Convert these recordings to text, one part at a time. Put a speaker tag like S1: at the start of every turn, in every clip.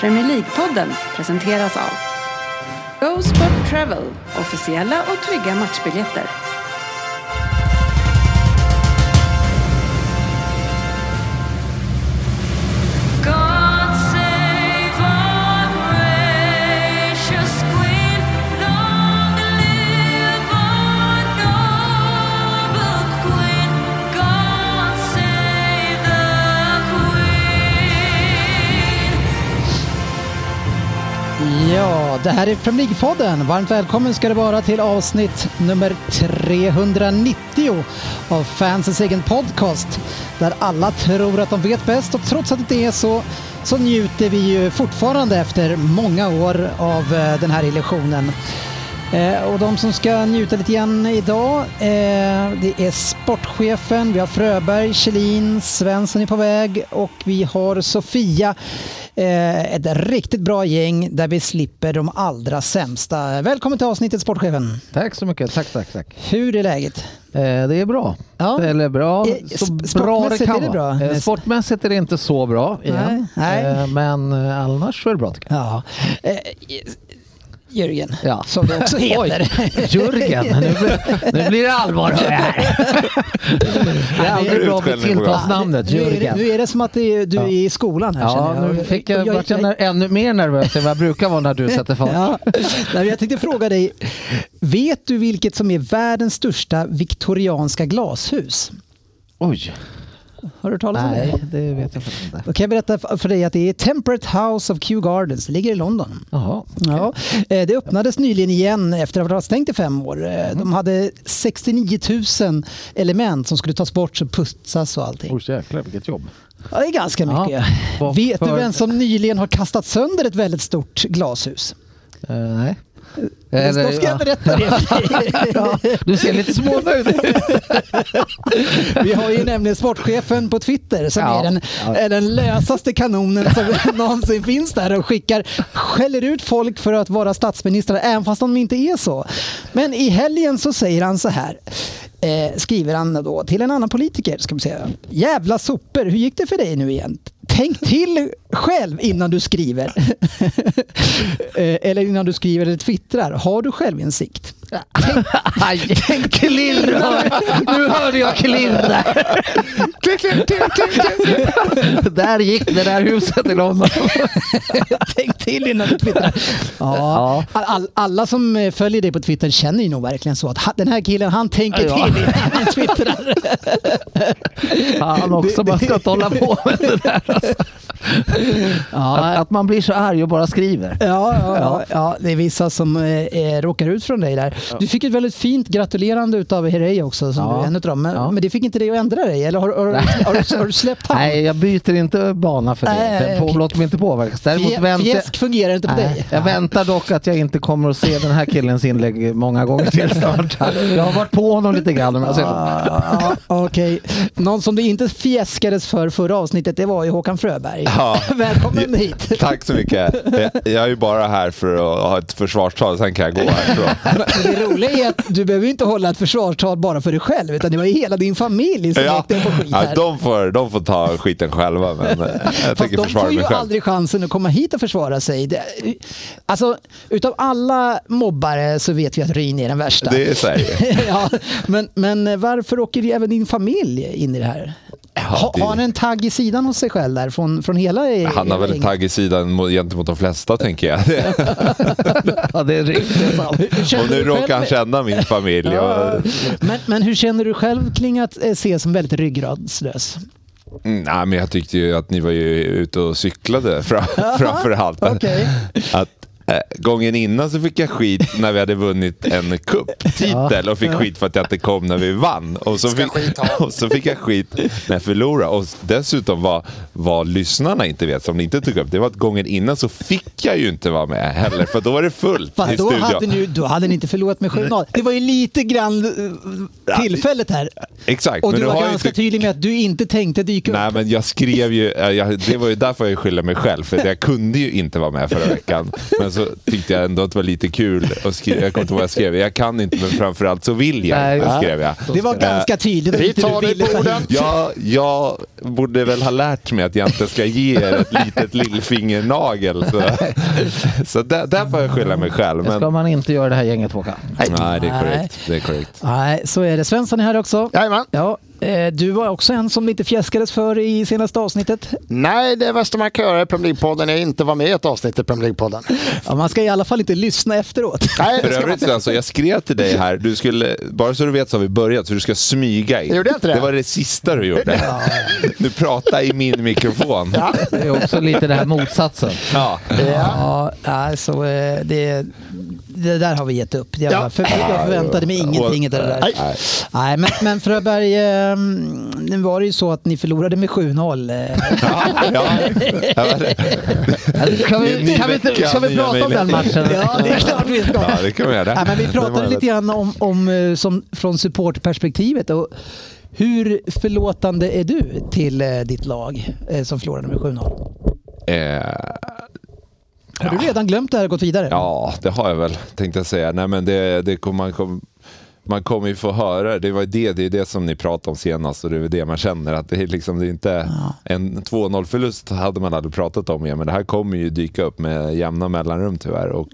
S1: Premier League-podden presenteras av Go Sport Travel, officiella och trygga matchbiljetter.
S2: God save our gracious Queen. Long live our noble Queen. God save the Queen.
S3: Ja, det här är Premier League-podden. Varmt välkommen ska det vara till avsnitt nummer 390 av fansens egen podcast. Där alla tror att de vet bäst och trots att det inte är så så njuter vi ju fortfarande efter många år av eh, den här illusionen. Eh, och de som ska njuta lite grann idag, eh, det är sportchefen, vi har Fröberg, Kjellin, Svensson är på väg och vi har Sofia. Eh, ett riktigt bra gäng där vi slipper de allra sämsta. Välkommen till avsnittet sportchefen.
S4: Tack så mycket, tack tack tack.
S3: Hur är läget?
S4: Eh, det är bra.
S3: Ja.
S4: Eller bra,
S3: Eh,
S4: så
S3: sp-
S4: bra det
S3: sportmässigt
S4: kan
S3: är det
S4: vara.
S3: bra.
S4: Eh, sportmässigt är det inte så bra igen.
S3: Nej.
S4: Eh, men eh, annars så är det bra tycker jag.
S3: Ja. Eh, Jörgen,
S4: Ja.
S3: som det också heter.
S4: Oj, Jörgen, nu blir, nu blir det allvar hör jag här. Det är aldrig bra med tilltalsnamnet,
S3: Nu är, det,
S4: Jörgen.
S3: nu är det som att det är, du är i skolan här
S4: Ja,
S3: känner jag.
S4: nu fick jag,
S3: Och
S4: vart jag ner- ännu mer nervös än vad jag brukar vara när du sätter fart.
S3: Ja. Nej, men jag tänkte fråga dig, vet du vilket som är världens största viktorianska glashus?
S4: Oj,
S3: Har du hört talas om det?
S4: nej det vet jag faktiskt inte.
S3: Då kan jag berätta för dig att det är Temperate House of Kew Gardens, det ligger i London.
S4: Jaha.
S3: Ja, eh, det öppnades nyligen igen efter att ha varit stängt i fem år. Eh,
S4: Mm.
S3: De hade 69 000 element som skulle tas bort, så putsas och allting.
S4: Oj jäklar vilket jobb.
S3: Ja, det är ganska
S4: Ja.
S3: mycket.
S4: Vad
S3: Vet du
S4: för-
S3: vem som nyligen har kastat sönder ett väldigt stort glashus?
S4: Eh, nej.
S3: Då ska jag
S4: ja.
S3: berätta det för dig.
S4: Du ser lite smånöjd ut.
S3: Vi har ju nämligen sportchefen på Twitter som
S4: Ja.
S3: är den,
S4: Ja.
S3: är den lösaste kanonen som någonsin finns där och skickar, skäller ut folk för att vara statsministrar även fast de inte är så. Men i helgen så säger han så här. Eh, skriver han då till en annan politiker. Ska vi säga. Jävla sopor, hur gick det för dig nu igen? Tänk till själv innan du skriver. Eh, eller innan du skriver eller twittrar. Har du självinsikt?
S4: Aj, klirr! Nu hörde jag klirr där. Där gick det där huset i London.
S3: Tänk till innan du twittrar. Ja.
S4: Ja.
S3: All, all, alla som eh, följer dig på Twitter känner ju nog verkligen så att ha- den här killen han tänker
S4: Ja.
S3: till innan han twittrar.
S4: Han också, man ska inte hålla på med det där. Alltså. Att, att man blir så arg och bara skriver.
S3: Ja, ja, ja. ja, det är vissa som eh, eh, råkar ut från dig där. Du fick ett väldigt fint gratulerande utav Herrey också, som
S4: Ja.
S3: du är en utav dem. Men,
S4: Ja.
S3: men det fick inte dig att ändra dig, eller har, har, har, har, har du släppt han?
S4: Nej, jag byter inte bana för
S3: Nej,
S4: det.
S3: nej,
S4: Den på,
S3: okej.
S4: låt mig inte påverkas. Däremot
S3: Fje-
S4: väntar
S3: Fjäsk fungerar inte på
S4: Nej,
S3: dig.
S4: jag väntar dock att jag inte kommer att se den här killens inlägg många gånger till snart. Jag har varit på honom lite grann. alltså- om jag säger så.
S3: Ja, Okej. Någon som det inte fjäskades för förra avsnittet, det var ju Håkan Fröberg.
S5: Ja.
S3: Välkommen hit.
S5: Tack så mycket. Jag- Jag är ju bara här för att ha ett försvarstal, sen kan jag gå härifrån.
S3: Men det roliga är att du behöver ju inte hålla ett försvarstal bara för dig själv, utan det var ju hela din familj som
S5: Ja,
S3: gick den på skit här.
S5: ja, de, får, de får ta skiten själva, men eh, jag
S3: Fast
S5: tänker
S3: de
S5: försvara
S3: får ju
S5: mig själv.
S3: aldrig chansen att komma hit och försvara sig. Det, alltså, utav alla mobbare så vet vi att Ryn är den värsta.
S5: Det säger jag.
S3: ja, men, men varför åker även din familj in i det här? Ha,
S5: det-
S3: Har han en tagg i sidan hos sig själv där från, från hela er-
S5: Han har
S3: er
S5: väl en
S3: gäng?
S5: tagg i sidan mot- gentemot de flesta, tänker jag.
S4: Ja, det är riktigt sant.
S3: Alltså, Hur känner
S5: Och nu
S3: du själv-
S5: råkar han känna min familj.
S3: Ja.
S5: Och,
S3: Men, men hur känner du själv kring att eh, ses som väldigt ryggradslös?
S5: Mm, nej, men jag tyckte ju att ni var ju ute och cyklade fram, framför allt.
S3: Okej.
S5: Att, eh, gången innan så fick jag skit när vi hade vunnit en kupptitel och fick skit för att jag inte kom när vi vann. Och så, fick, och så fick jag skit när jag förlorade. Och dessutom var vad lyssnarna inte vet, som ni inte tog upp, det var att gången innan så fick jag ju inte vara med heller, för då var det fullt i
S3: Fast då
S5: studion.
S3: hade, ni, då hade ni inte förlorat med 7-0. Det var ju lite grann eh, tillfället här.
S5: Exakt,
S3: Och
S5: men
S3: du
S5: har
S3: var
S5: ju
S3: ganska
S5: inte-
S3: tydlig med att du inte tänkte dyka upp.
S5: Nej, men jag skrev ju, eh, jag, det var ju därför jag skyller mig själv, för att jag kunde ju inte vara med förra veckan. Men så så tyckte jag ändå att det var lite kul. Och skri- jag kommer inte ihåg vad jag skrev. Jag kan inte, men framförallt så vill jag.
S4: Nej,
S5: Nej,
S4: ja.
S5: skrev jag. Eh,
S3: Det var ganska tydligt. att
S6: vi
S3: inte
S6: tar
S3: du
S6: dig
S3: ville
S6: på
S3: ta hit.
S6: orden.
S5: Jag, jag borde väl ha lärt mig att jag inte ska ge er ett litet lillfingernagel. Så, så där, där får jag skylla mig själv.
S4: Det ska
S5: Men,
S4: man inte göra i det här gänget Håkan.
S5: nej, det är korrekt. Det är korrekt.
S3: Nej, så är det. Svensson är här också.
S6: Jajamän.
S3: Ja, eh, du var också en som inte fjäskades för i senaste avsnittet.
S6: Nej, det värsta man kan göra i Premier League-podden är inte vara med i ett avsnitt i Premier League-podden.
S3: Ja, man ska i alla fall inte lyssna efteråt.
S6: Nej,
S5: För
S6: det ska man
S5: övrigt,
S6: inte.
S5: alltså, jag skrev till dig här, du skulle, bara så du vet så har vi börjat, så du ska smyga in.
S6: Jag gjorde inte det.
S5: det var det sista du gjorde. Du pratade i min mikrofon.
S6: Ja.
S4: Det är också lite det här motsatsen.
S5: Ja.
S6: Ja.
S3: Ja, nej, så eh, det, det där har vi gett upp. Jag,
S6: Ja.
S3: för, jag förväntade mig ingenting av det där.
S6: Nej.
S3: Nej, men, men Fröberg, eh, nu var det ju så att ni förlorade med 7-0. eh.
S5: Ja.
S4: Kan
S5: Det är en
S4: vi,
S5: ny
S4: kan vi, inte,
S5: vecka,
S4: ska vi
S5: nya
S4: prata om den
S5: möjligheter.
S4: matchen?
S3: Ja, det är klart vi ska.
S5: ja, det kan vi göra.
S3: Nej, men vi
S5: Det
S3: pratade
S5: var
S3: lite grann om, om eh, som, från supportperspektivet. Och hur förlåtande är du till eh, ditt lag eh, som förlorade med 7-0?
S5: Eh,
S3: Har du redan glömt det här och gått vidare?
S5: Ja, det har jag väl, tänkte jag säga. Nej, men det, det kommer man, kom, man kommer ju få höra, det var ju det, det, är det som ni pratade om senast och det är väl det man känner att det är liksom det är inte en 2-0 förlust hade man aldrig pratat om igen, men det här kommer ju dyka upp med jämna mellanrum tyvärr. Och,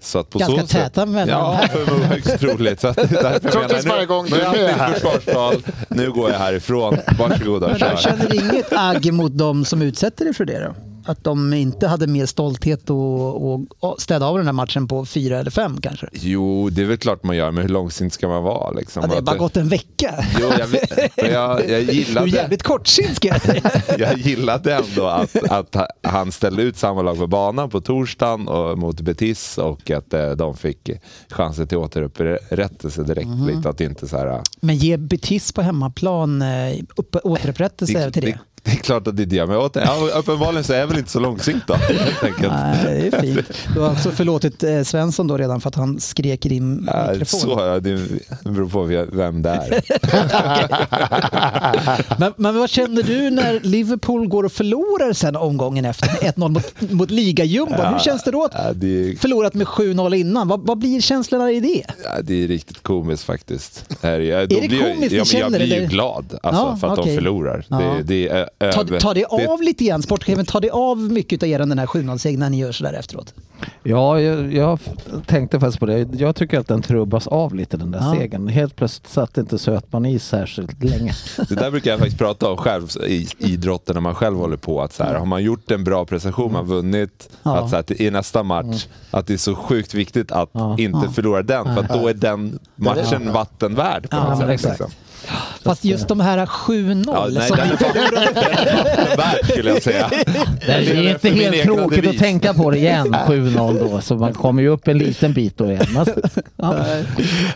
S5: så att på
S3: Ganska
S5: så sätt-
S3: täta mellanrum
S5: Ja,
S3: här.
S5: för det var högst troligt. Så att, därför menar jag, nu-
S6: varje gång du
S5: nu
S6: är
S5: allt mitt
S6: här.
S5: försvarstal, nu går jag härifrån. Varsågoda,
S3: Men du
S5: kör.
S3: känner inget agg mot dem som utsätter dig för det då? Att de inte hade mer stolthet och, och, och städa av den här matchen på fyra eller fem kanske?
S5: Jo, det är väl klart man gör, men hur långsint ska man vara? Liksom?
S3: Ja, det har
S5: Att
S3: bara
S5: det-
S3: gått en vecka.
S5: Jo, jag, vet- men jag, jag
S3: Du är
S5: gillade...
S3: jävligt kortsint ska jag säga.
S5: jag gillade ändå att, att ha- han ställde ut samma lag på banan på torsdagen och mot Betis och att eh, de fick chansen till återupprättelse direkt.
S3: Mhm.
S5: Lite att inte så här, eh,
S3: Men ge Betis på hemmaplan eh, upp, återupprättelse till det.
S5: det är klart att det är det, men åter, ja, uppenbarligen så är jag väl inte så långsint då. Helt enkelt.
S3: Nej, det är fint. Du har också förlåtit eh, Svensson då redan för att han skrek i din
S5: Äh,
S3: mikrofon.
S5: så, ja, det beror på vem det är.
S3: Men, men vad känner du när Liverpool går och förlorar sen omgången efter med 1-0 mot, mot ligajumbon? Hur känns det då att
S5: Ja, det, är,
S3: förlorat med 7-0 innan? Vad, vad blir känslorna i det?
S5: ja, det är riktigt komiskt faktiskt. Är det, är
S3: det
S5: blir, jag-
S3: komiskt ni
S5: ja, men
S3: känner,
S5: Jag blir
S3: eller?
S5: ju glad alltså,
S3: Ja,
S5: för att
S3: okej.
S5: de förlorar.
S3: Ja.
S5: Det, det är, ö-
S3: Ta,
S5: över-
S3: ta det
S5: det-
S3: av lite igen, sportchefen. Ta det av mycket av er den här 7-0-segern när ni gör sådär efteråt.
S4: Ja, jag, jag tänkte faktiskt på det. Jag tycker att den trubbas av lite den där
S3: Ja.
S4: segern. Helt plötsligt satt inte sötman i särskilt länge.
S5: Det där brukar jag faktiskt prata om själv i idrotten när man själv håller på. Att så här, har man gjort en bra prestation, man vunnit,
S3: Ja. Mm.
S5: att så här, till- i nästa match, att det är så sjukt viktigt att inte förlora den. För att då är den matchen vattenvärd på
S3: Ja, men
S5: något sätt.
S3: exakt.
S5: liksom.
S3: Fast just de här 7-0
S5: Ja, nej,
S3: som
S5: den är
S3: ni
S5: fan- den är vattenvärd skulle jag säga.
S4: Det är inte
S5: för min
S4: helt
S5: egna
S4: tråkigt att
S5: devis.
S4: tänka på det igen, 7-0 då. Så man kommer ju upp en liten bit då igen. Men- Ja.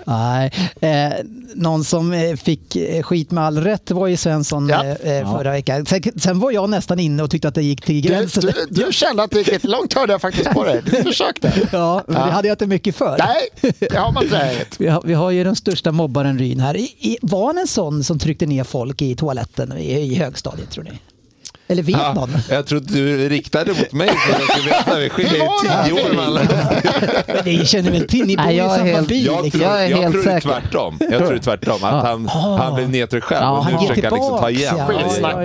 S3: Nej. Eh, någon som eh, fick eh, skit med all rätt var ju Svensson
S6: Ja.
S3: eh, eh, förra veckan. Sen, sen var jag nästan inne och tyckte att det gick till
S6: Du,
S3: gränsen.
S6: du, du kände att det gick lite långt hörde jag faktiskt på dig. Du försökte.
S3: Ja, men det hade jag inte mycket för.
S6: Nej, det har man inte.
S3: Vi har, vi har ju den största mobbaren Ryn här. I, i, var han en sån som tryckte ner folk i toaletten i, i högstadiet tror ni? Eller vet
S5: Ja,
S3: någon?
S5: jag trodde du riktade mot mig för att jag skulle veta. Vi skiljer
S6: Det
S5: ju
S6: var
S5: tio år mellan
S3: Men Det känner väl till? Ni bor
S4: Nej,
S3: ju i
S4: jag är
S3: samma
S4: helt-
S3: by.
S5: Jag tror,
S3: liksom.
S4: Jag är
S5: jag
S4: helt
S5: tror det är
S4: säker.
S5: tvärtom. Jag tror det är tvärtom. Att han, han blev nedtryckt själv
S4: Ja,
S5: och
S4: han
S5: nu
S4: ger
S5: försöker han liksom ta
S3: tillbaks,
S5: igen.
S3: ja.
S6: Skitsnackar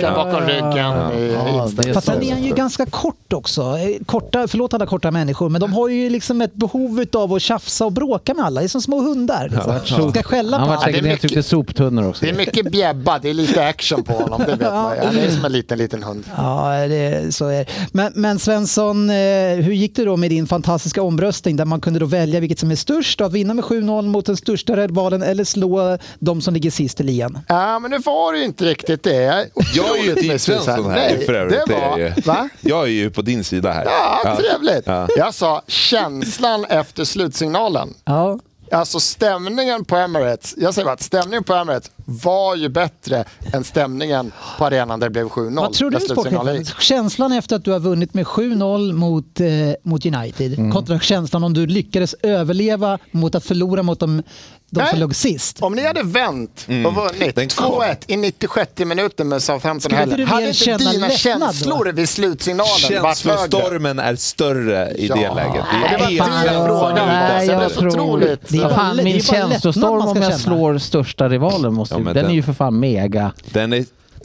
S4: Ja, ja, ja,
S6: bakom ryggen.
S4: Ja, det är
S3: Fast sen
S4: så.
S3: är han ju ganska kort också. Eh, Korta, förlåt alla korta människor, men de har ju liksom ett behov av att tjafsa och bråka med alla. Det är som små hundar. Liksom. Ska skälla på
S4: Han var
S3: alla.
S4: säkert
S6: det är
S4: nedtryckt i soptunnor också.
S6: Det är mycket bjäbba, det är lite action på honom, det vet man ju. Han är som en liten, liten hund.
S3: Ja, det, så är det. Men, men Svensson, eh, hur gick det då med din fantastiska omröstning där man kunde då välja vilket som är störst? Att vinna med 7-0 mot den största rivalen eller slå de som ligger sist i ligan?
S6: Ja, men nu var det ju inte riktigt det. Jag är
S5: Jag är ju
S6: otroligt
S5: Dick
S6: missvisad.
S5: Svensson här
S6: Nej,
S5: för övrigt.
S6: Det
S5: är
S6: var,
S5: ju.
S6: va?
S5: Jag är ju på din sida här.
S6: Ja, trevligt.
S5: Ja.
S6: Jag sa känslan efter slutsignalen.
S3: Ja.
S6: Alltså stämningen på Emirates. Jag säger bara att stämningen på Emirates var ju bättre än stämningen på arenan där det blev 7-0.
S3: Vad tror du
S6: när slutsignalen
S3: sportchefen?
S6: gick.
S3: Känslan efter att du har vunnit med 7-0 mot, eh, mot United kontra känslan om du lyckades överleva mot att förlora mot de, de
S6: Nej.
S3: som låg sist.
S6: Om ni hade vänt och
S5: Mm.
S6: vunnit
S5: Den kom.
S6: 2-1 i 96 minuten med Southampton
S3: Skulle inte
S6: heller,
S3: du mer
S6: hade inte
S3: känna
S6: dina
S3: lättnad då?
S6: känslor vid slutsignalen varit högre?
S5: Känslostormen är större i det
S6: Ja.
S5: läget.
S6: Och det var
S5: helt
S6: fan,
S5: jävla
S6: frågan.
S5: utan-
S6: Nej, jag
S5: Alltså,
S6: tror- otroligt.
S3: Det är
S6: Vad
S3: bara,
S4: fan,
S3: det
S4: min
S3: är bara lättnad
S4: känslostorm
S3: man
S4: om
S3: ska
S4: jag
S3: känna.
S4: slår största rivalen. Måste,
S5: Ja,
S4: den,
S5: men
S4: är
S5: den-
S4: ju för fan mega.
S5: Den är,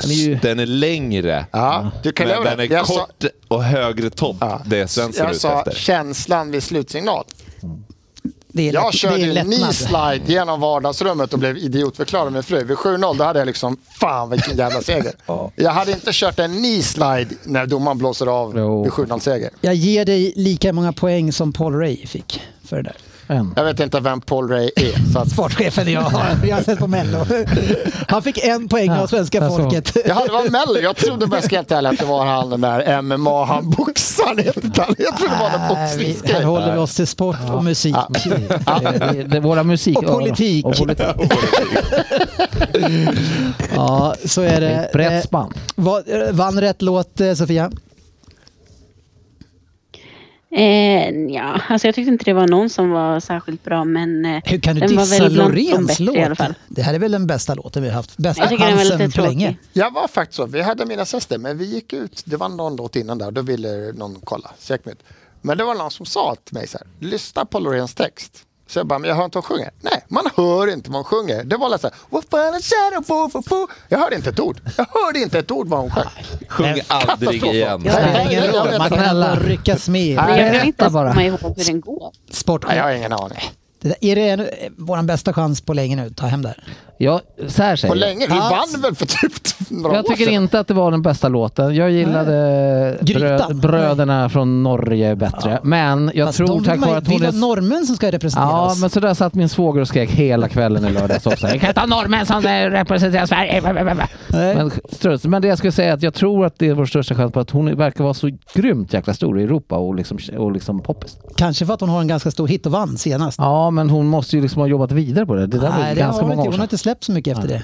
S4: är ju-
S5: den är längre,
S6: Ja, du kan
S5: men
S6: göra
S5: den
S6: det.
S5: är
S6: Jag sa,
S5: kort och högre topp. Det är Svensson
S6: jag
S5: ute
S6: sa
S5: efter.
S6: känslan vid slutsignal.
S3: Det är,
S6: Jag
S3: lätt, det
S6: körde
S3: är
S6: en knee
S3: lättnad.
S6: slide genom vardagsrummet och blev idiotförklarad med fru. Vid 7-0 då hade jag liksom, fan vilken jävla seger. Jag hade inte kört en knee slide när domaren blåser av
S4: Jo.
S6: vid 7-0 seger.
S3: Jag ger dig lika många poäng som Paul Ray fick för det där.
S4: En.
S6: Jag vet inte vem Paul Ray är. Så att,
S3: Sportchefen jag har, vi har sett på Mello. Han fick en poäng av
S4: Ja,
S3: svenska
S4: där så.
S3: folket.
S6: jag hade var Mello. Jag trodde bara ska jag inte ärlig att det var han den där MMA han boxar. Jag vet inte, jag trodde det var någon
S3: Nej, vi, här
S6: boxningsgrej.
S3: håller vi oss till sport och musik.
S4: Det, det, det, våra musik
S3: Och politik.
S4: Och politik.
S3: Ja, så är
S4: Det
S3: det.
S4: är ett brett spann.
S3: Eh, vad- eh, Vann rätt låt eh, Sofia?
S7: Eh, ja, alltså jag tyckte inte det var någon som var särskilt bra, men eh,
S3: Hur kan du
S7: den var
S3: dissa
S7: väl bland de
S3: Loreens
S7: bättre
S3: låt?
S7: i alla fall.
S3: Det här är väl den bästa låten vi har haft? Bästa
S7: Jag tycker den var lite
S3: chansen på
S7: tråkig.
S3: länge.
S6: Jag var faktiskt så, vi hade mina sester, men vi gick ut, det var någon låt innan där, då ville någon kolla, säkert. Men det var någon som sa till mig så här, lyssna på Loreens text. Så jag bara, men jag hör inte vad hon sjunger. Nej, man hör inte vad hon sjunger. Det var lite så här, "What fun is shadow for, for, for." jag hörde inte ett ord. Jag hörde inte ett ord vad hon sjöng.
S5: Sjung aldrig igen.
S3: Det spelar ingen
S6: jag
S3: roll,
S6: vet
S3: man kan
S4: inte.
S3: ändå ryckas med.
S6: Nej.
S7: Jag kan inte ens
S4: bara.
S7: komma ihåg hur den går.
S6: Nej, jag har
S3: Sportchef.
S6: ingen aning.
S3: Det där- Är det en, eh, vår bästa chans på länge nu? Ta hem det här.
S4: Ja, så här säger
S6: På
S4: jag.
S6: länge, vi vann väl för typ några
S4: Jag
S6: år
S4: tycker
S6: sedan.
S4: inte att det var den bästa låten. Jag gillade
S3: Grytan.
S4: brö- bröderna från Norge bättre. Men jag
S3: Fast
S4: tror
S3: de
S4: tack
S3: vill man ju-
S4: vare att
S3: vill
S4: hon
S3: vara
S4: är...
S3: norrmän som ska representera
S4: Ja,
S3: oss.
S4: men så där satt min svåger och skrek hela kvällen i lördags också. Vi kan inte ha norrmän som eh, representerar Sverige.
S3: Nej.
S4: Men, struts. men det jag skulle säga är att jag tror att det är vår största chans på att hon verkar vara så grymt jäkla stor i Europa och liksom, och liksom poppis.
S3: Kanske för att hon har en ganska stor hit och vann senast.
S4: Ja, men hon måste ju liksom ha jobbat vidare på det. Det där var
S3: Nej,
S4: ju
S3: det har
S4: ganska
S3: hon,
S4: många
S3: inte, hon
S4: år
S3: har
S4: sedan.
S3: inte släppt så mycket efter det.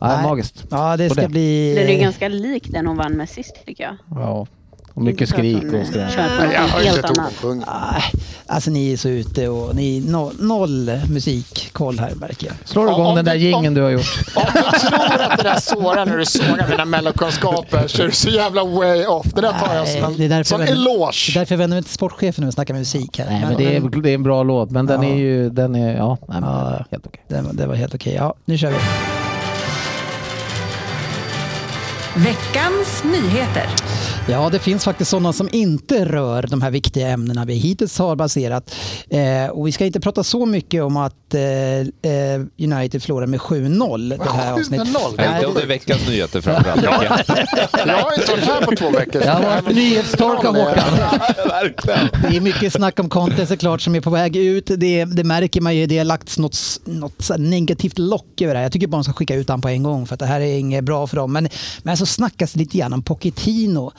S4: Ja,
S3: Nej.
S4: magiskt.
S3: Ja, det
S4: På
S3: ska
S4: det.
S3: bli...
S7: Den är ju ganska lik den hon vann med sist tycker jag.
S4: Ja. Och mycket skrik och skräp.
S6: Nej, jag hör inte
S7: eh, Helt
S6: ett ord hon
S7: annan.
S6: sjunger.
S3: Nej, alltså ni är så ute och ni är no, noll musikkoll här märker jag.
S4: Slår du
S6: Ja,
S4: igång
S6: om
S4: den där
S6: du-
S4: jingeln du har gjort?
S6: Om du tror att det där sårar när du sågar mina mellokunskaper så är du så jävla way off. Det där tar jag som
S3: Nej, det är
S6: en
S3: därför
S6: som
S3: jag vänder- Det är
S6: eloge.
S3: därför jag vänder mig till sportchefen nu och snackar musik här.
S4: Nej, men det är, det är en bra låt, men den är ju... Den är, ja, nej, men,
S3: Ja.
S4: helt okej.
S3: det, var- det var helt okej. Ja, nu kör vi.
S1: Veckans nyheter.
S3: Ja, det finns faktiskt sådana som inte rör de här viktiga ämnena vi hittills har baserat. Eh, och vi ska inte prata så mycket om att eh, eh, United förlorade med 7-0 det här avsnittet. Eh,
S6: 7-0?
S5: Nej, inte under veckans nyheter framförallt. Ja.
S6: Jag har inte varit här på två veckor.
S4: Det har varit nyhetstorka, Håkan.
S5: Verkligen.
S3: Det är mycket snack om Conte såklart som är på väg ut. Det, det märker man ju. Det har lagts något, något så här negativt lock över det här. Jag tycker bara man ska skicka ut honom på en gång för att det här är inget bra för dem. Men, men så snackas det lite grann om Pochettino.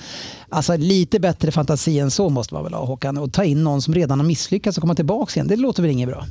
S3: Alltså lite bättre fantasi än så måste man väl ha Håkan. Och ta in någon som redan har misslyckats och komma tillbaka igen. Det låter väl inget bra?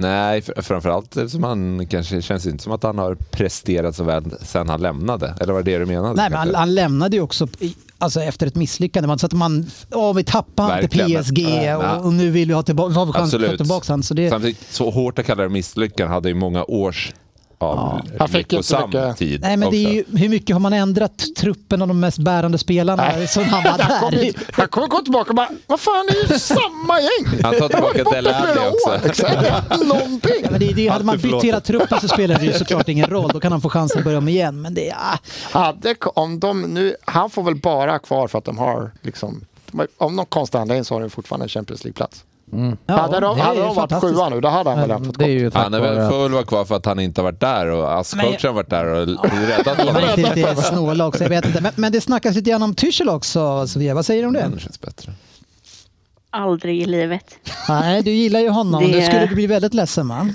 S5: Nej, fr- framförallt eftersom han kanske känns inte som att han har presterat så väl sen han lämnade. Eller var det det du menade?
S3: Nej, men han,
S5: kanske?
S3: han lämnade ju också i- alltså, efter ett misslyckande. Man, så att man, åh vi tappade han till
S5: Verkligen.
S3: PSG
S5: Nej, nej.
S3: och, och nu vill vi ha tillbaka, har vi chans att få
S5: Absolut.
S3: tillbaka han. Så det,
S5: Samtidigt, så hårt att kalla det misslyckande hade ju många års av
S6: Han fick inte
S5: lyckosam
S6: mycket-
S5: tid
S3: Nej, men det är
S5: också.
S3: ju, hur mycket har man ändrat truppen av de mest bärande spelarna som han var
S6: Kom
S3: där?
S6: hit. Han kommer gå tillbaka och bara, vad fan det är ju samma gäng.
S5: Han tar tillbaka Dele Alli också.
S6: Exakt, någonting.
S3: Ja, men det, det, hade man
S5: Alltid
S3: bytt hela
S5: förlåtet.
S3: truppen så spelar det ju såklart ingen roll. Då kan han få chansen att börja om igen. Men det, ah,
S6: Hade, om de nu, han får väl bara ha kvar för att de har liksom de har- om någon konstig anledning så har de fortfarande en Champions League-plats.
S3: ja,
S6: hade de,
S3: det är
S6: hade de varit
S3: fantastiskt.
S6: sjua nu, då hade han väl redan
S4: Men
S6: fått
S4: Mm, Det är ju tack
S5: Han är
S4: vare
S5: väl,
S4: att...
S5: får väl vara kvar för att han inte har varit där och
S3: Men
S5: ASS-coachen har varit där och räddat
S3: Man är
S5: honom.
S3: inte lite snåla också, jag vet inte. Men, men det snackas lite grann om Tyschel också, Sofia. Vad säger du om det?
S6: Mm.
S5: Det känns bättre.
S7: Aldrig i livet.
S3: Nej, du gillar ju honom.
S7: Det-
S3: Du skulle bli väldigt ledsen va?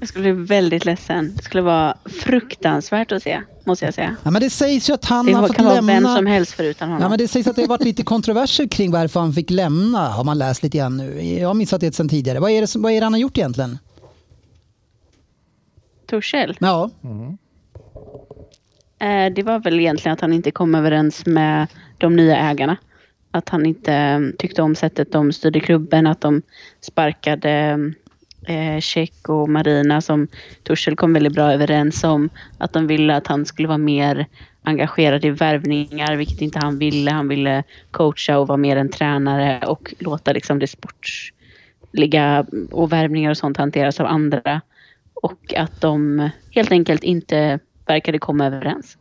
S7: Jag skulle bli väldigt ledsen. Det skulle vara fruktansvärt att se, måste jag säga.
S3: Ja, men det sägs ju att han
S7: Det
S3: har
S7: kan
S3: fått
S7: vara vem
S3: lämna...
S7: som helst förutom honom.
S3: Ja, men det sägs att det har varit lite kontroverser kring varför han fick lämna, har man läst lite grann nu. Jag har missat det sedan tidigare. Vad är det, som, vad är det han har gjort egentligen?
S7: Torssell.
S3: Ja,
S7: Eh, det var väl egentligen att han inte kom överens med de nya ägarna. Att han inte eh, tyckte om sättet de styrde klubben, att de sparkade eh, Check och Marina som Torssell kom väldigt bra överens om. Att de ville att han skulle vara mer engagerad i värvningar, vilket inte han ville. Han ville coacha och vara mer en tränare och låta liksom det sportsliga och värvningar och sånt hanteras av andra. Och att de helt enkelt inte verkade komma överens.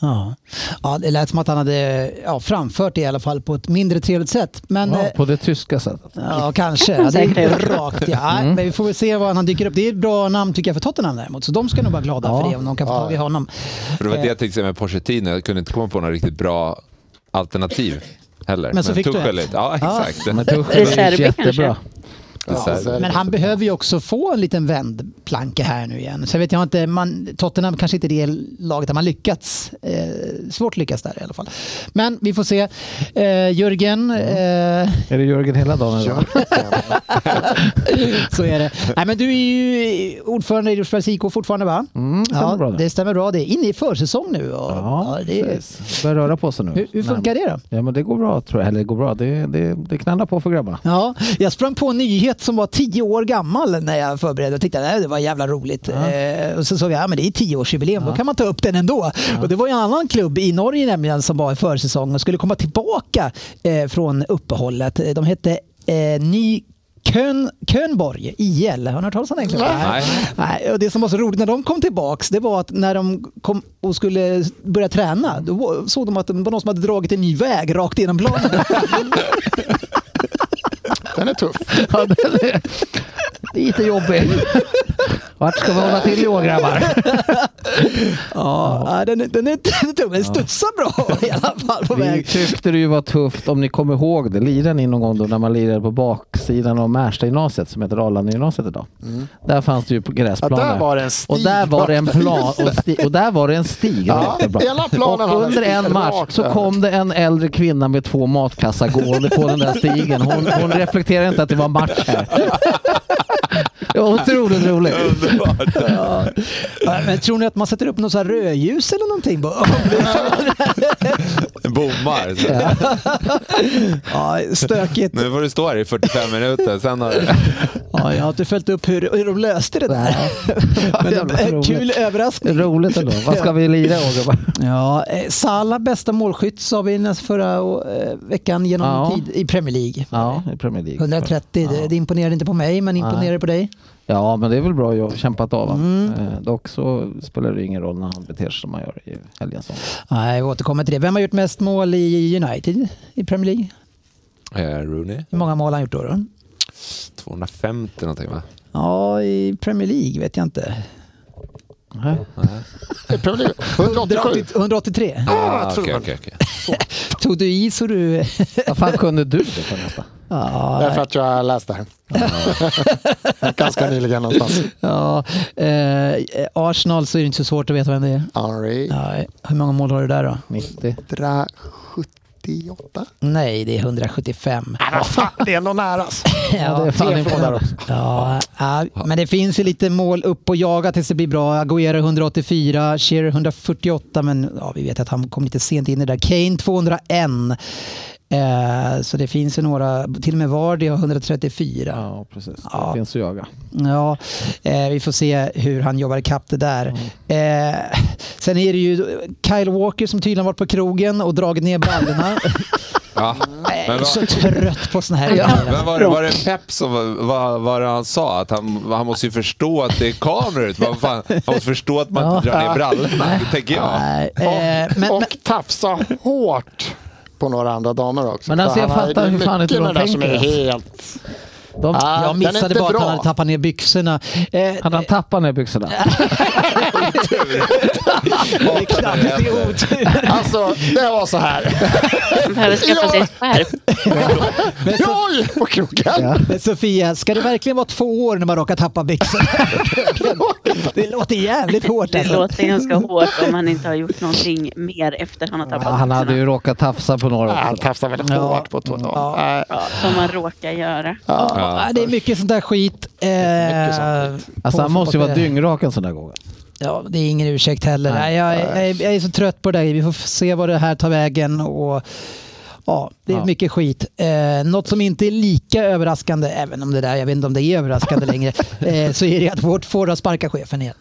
S3: Ja. ja, det lät som att han hade ja, framfört det i alla fall på ett mindre trevligt sätt. Men,
S4: Ja,
S3: eh,
S4: på det tyska sättet.
S3: ja, kanske. Ja, det gick rakt ja.
S4: Mm.
S3: Men vi får väl se var han dyker upp. Det är ett bra namn tycker jag för Tottenham däremot. Så de ska nog vara glada för det om de kan få tag i honom.
S5: För det var det jag tänkte säga med Pochettino. Jag kunde inte komma på några riktigt bra alternativ heller.
S3: Men så fick du
S5: Tuchel
S3: ett.
S5: är- Ja, exakt.
S4: Men
S7: Reservi
S4: Tuchel är
S7: kanske?
S4: jättebra.
S5: Det är så här.
S6: så är det.
S3: Men han behöver ju också få en liten vändplanka här nu igen. Så jag vet jag inte, man, Tottenham kanske inte är det laget där man lyckats. Eh, svårt lyckas där i alla fall. Men vi får se. Eh, Jörgen, eh,
S4: Är det Jörgen hela dagen? idag?
S3: så är det. Nej, men du är ju ordförande i Rosersbergs IK fortfarande va?
S4: Mm, stämmer
S3: ja,
S4: bra det.
S3: det stämmer bra det. är Inne i försäsong nu. Och,
S4: Ja,
S3: det är-
S4: precis. Börjar röra på sig nu.
S3: hur, hur funkar
S4: Nej,
S3: det då?
S4: Ja, men det går bra tror jag. Eller det går bra. Det, det, det knallar på för grabbarna.
S3: Ja, jag sprang på en nyhet som var tio år gammal när jag förberedde och tyckte nej, det var jävla roligt. Eh, och så såg jag att men det är tioårsjubileum, då kan man ta upp den ändå. Och det var ju en annan klubb i Norge nämligen som var i försäsong och skulle komma tillbaka eh, från uppehållet. Eh, De hette eh, Ny Kön, Könborg, IL. Har ni hört talas om den klubben?
S5: Nej.
S3: Nej, och det som var så roligt när de kom tillbaks det var att när de kom och skulle börja träna då var- såg de att det var någon som hade dragit en ny väg rakt genom planen.
S6: Den är tuff.
S4: Ja, det är lite jobbig. Vart ska vi hålla till i år grabbar?
S3: Ja, den, är- den är den är tung. Den studsar bra i alla fall på
S4: Vi
S3: väg.
S4: tyckte det ju var tufft, om ni kommer ihåg det, lirade ni någon gång då när man lirade på baksidan av Märsta gymnasiet som heter Arlanda-gymnasiet idag? Där fanns det ju gräsplaner.
S6: Mm. Ja, där var det en stig
S4: Och där var det en plan och, sti, och där var det en stig.
S6: Ja,
S4: Det var jättebra.
S6: hela planen
S4: och
S6: hade
S4: under
S6: en
S4: en
S6: stig
S4: match
S6: rakt
S4: så
S6: över.
S4: kom det en äldre kvinna med två matkassar gående på den där stigen. Hon, hon reflekterade inte att det var match här. Det var otroligt roligt.
S5: Underbart.
S3: Ja, Men tror ni att man sätter upp något så här rödljus eller någonting? Bara,
S5: Bommar. Så.
S3: Ja, stökigt.
S5: Nu får du stå här i 45 minuter. Sen har du...
S3: Ja, jag har inte följt upp hur, hur de löste det där. Men
S4: Jävla
S3: en
S4: roligt.
S3: kul överraskning.
S4: Roligt ändå. Vad ska vi lira i år gubbar?
S3: Ja, eh, Salah bästa målskytt sa vi näst förra eh, veckan genom
S4: Ja.
S3: tid i Premier League.
S4: Ja, i Premier League.
S3: 130, det, det imponerar inte på mig men imponerar det på dig.
S4: Ja, men det är väl bra. Jag har kämpat av mm. eh, Dock så spelar det ingen roll när han beter sig som han gör i helgen. som-
S3: Nej, vi återkommer till det. Vem har gjort mest mål i United i Premier League?
S5: Eh, Rooney.
S3: Hur många mål har han gjort då? då?
S5: 250 någonting va?
S3: Ja, i Premier League vet jag inte.
S4: Nej.
S6: Det är problem. 187.
S3: 183.
S5: Ah,
S6: tror
S5: okej,
S6: jag.
S5: okej, okej.
S3: Tog du i så du...
S4: Vad fan kunde du det för nästa?
S6: Därför att jag läste det här. Ganska nyligen någonstans.
S3: ja, eh, Arsenal så är det inte så svårt att veta vem det är.
S6: Henry.
S3: Nej. Hur många mål har du där då?
S4: 90.
S6: 178.
S3: Nej, det är 175.
S6: Nej, Äh, vad fan, det är ändå nära. alltså.
S3: Eh,
S4: Ja, det är fan
S6: tre från där
S4: imponerande.
S6: också.
S3: Ja, ja, men det finns ju lite mål upp och jaga tills det blir bra. Aguero 184, Shearer 148, men ja, vi vet att han kom lite sent in i det där. Kane 201. Eh, så det finns ju några, till och med Vardy har 134.
S4: Ja, precis.
S3: Ja.
S4: Det finns att jaga.
S3: Ja, eh, vi får se hur han jobbar ikapp det där.
S4: Mm.
S3: Eh, sen är det ju Kyle Walker som tydligen varit på krogen och dragit ner brallorna. Jag
S5: Ja. Men
S3: är så
S5: vad,
S3: trött på såna här grejer.
S5: men var, det, var det Pep som var- var, var det han sa? Att han, han måste ju förstå att det är kameror ute. Vad fan, Han måste förstå att man inte drar ner brallorna. Det tänker jag.
S3: Nej, eh,
S6: Och,
S3: men, men,
S6: och tafsa hårt på några andra damer också.
S4: Men alltså,
S6: Så
S4: jag
S6: han har-
S4: fattar
S6: det är
S4: hur fan
S6: mycket
S4: inte de
S6: med det där som är
S4: tänker.
S6: helt...
S4: De,
S6: Ah,
S3: jag
S6: den är
S3: missade
S6: inte
S3: bara att han
S6: bra.
S3: hade tappat ner byxorna. Eh,
S4: Hade han tappat ner byxorna?
S3: det är knappt det är otur.
S6: Alltså, det var så här.
S7: Han behöver skaffa sig ett skärp.
S6: Oj, på krogen.
S3: Men Sofia, ska det verkligen vara två år när man råkar tappa byxorna? det låter jävligt hårt.
S7: Det
S3: Alltså.
S7: låter ganska hårt om han inte har gjort någonting mer efter han har tappat
S4: Han hade ju
S7: byxorna.
S4: råkat tafsa på några
S6: Han
S4: också.
S6: tafsade väldigt hårt på två damer.
S7: Ja, Som man råkar göra.
S5: Ja.
S3: Ja, det är mycket sånt där skit. Eh,
S6: mycket sånt
S4: Alltså han
S3: på
S4: måste ju vara
S3: fotbollsspelare.
S4: dyngrak en sån där gång.
S3: Ja, det är ingen ursäkt heller. Nej. jag, är- jag, är- jag är så trött på det där. Vi får se vad det här tar vägen. Och, ja, det är
S4: Ja.
S3: mycket skit. Eh, något som inte är lika överraskande, även om det där, jag vet inte om det är överraskande längre, eh, så är det att Watford har sparkat chefen igen.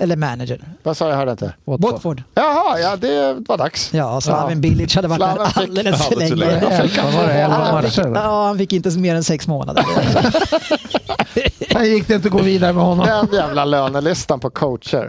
S3: Eller managern.
S6: Vad sa jag? Jag hörde inte.
S3: Watford.
S6: Jaha, ja det var dags.
S3: Ja, Slaven Bilic hade varit
S6: Slaven
S3: där
S6: fick-
S3: alldeles för
S5: alldeles för
S3: länge.
S5: länge.
S4: Vad var det, elva
S3: Han fick,
S4: matcher? eller?
S3: ja, han fick inte mer än sex månader.
S4: Här gick det inte att gå vidare med honom.
S6: Den jävla lönelistan på coacher.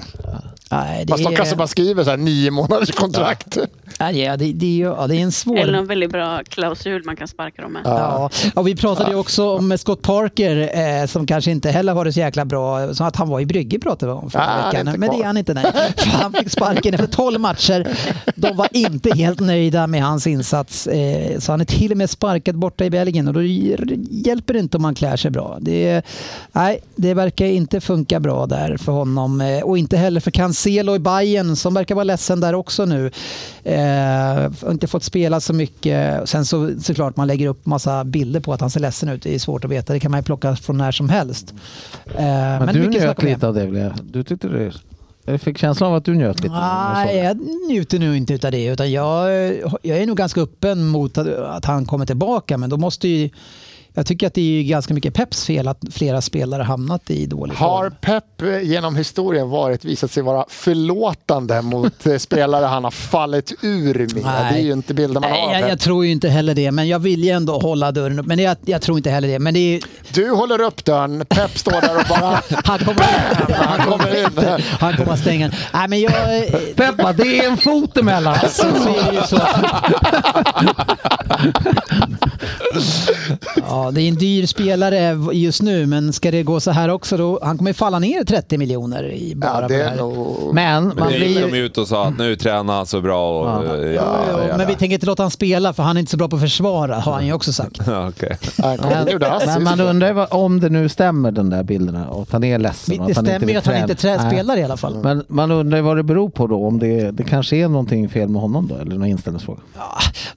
S3: Nej, det
S6: Fast de kanske
S3: är,
S6: bara skriver så här nio månaders kontrakt.
S3: nej, ja, det, det, är ju- ja, det är en svår...
S7: Eller någon väldigt bra klausul man kan sparka dem med.
S3: Ja. och vi pratade ju också om Scott Parker eh, som kanske inte heller var det så jäkla bra. Som att han var i Brygge pratade vi om förra
S6: Ah, han är
S3: veckan.
S6: inte
S3: Men det är
S6: kvar.
S3: han inte. Nej. För han fick sparken efter 12 matcher. De var inte helt nöjda med hans insats. Eh, så han är till och med sparkad borta i Belgien och då hj- hjälper det inte om han klär sig bra. Det, nej, det verkar inte funka bra där för honom eh, och inte heller för Cancelo i Bayern som verkar vara ledsen där också nu. Eh, har inte fått spela så mycket. Sen så såklart man lägger upp massa bilder på att han ser ledsen ut. Det är svårt att veta. Det kan man ju plocka från när som helst. Eh,
S4: Men, du
S3: mycket snack
S4: njöt
S3: om det.
S4: lite av det. Blev. Du tyckte det. Jag fick känslan av att du njöt lite.
S3: Nej, jag njuter nu inte av det. Utan jag, jag är nog ganska öppen mot att, att han kommer tillbaka. Men då måste ju... Jag tycker att det är ju ganska mycket Peps fel att flera spelare hamnat i dålig
S6: Har
S3: form.
S6: Pep eh, genom historien varit, visat sig vara förlåtande mot eh, spelare han har fallit ur med?
S3: Nej.
S6: Det är ju inte bilden man
S3: Nej,
S6: har av
S3: jag, jag
S6: Pep.
S3: tror ju inte heller det, men jag vill ju ändå hålla dörren upp. Men jag, jag tror inte heller det. Men det är, ju-
S6: Du håller upp dörren, Pep står där och bara...
S3: han, kommer,
S6: Ah. Han kommer in.
S3: han kommer att stänga den. Nej, men jag...
S4: Peppa, det är en fot emellan.
S3: Så är det ju så. Ja, det är en dyr spelare just nu, men ska det gå så här också då? Han kommer ju falla ner 30 miljoner i bara på
S6: Ja, det
S3: det
S6: är
S3: här.
S6: nog...
S4: Men man
S5: Men det gick de
S4: blir...
S5: ut och sa att nu tränar han så bra.
S4: Ja.
S5: Och, ja,
S3: Jo,
S5: ja,
S3: jo,
S5: ja.
S3: men vi tänker inte låta han spela för han är inte så bra på att försvara har han ju också sagt.
S5: Ja, okej.
S6: Han kom in och gjorde assist.
S4: Men man undrar ju vad- om det nu stämmer den där bilden och att han är ledsen. och
S3: Det
S4: att han inte
S3: stämmer
S4: vill
S3: ju att han
S4: träna.
S3: inte trä-
S4: Nej. Mm.
S3: spelar i alla fall.
S4: Men man undrar ju vad det beror på då. Om det, det kanske är någonting fel med honom då? Eller någon inställningsfråga?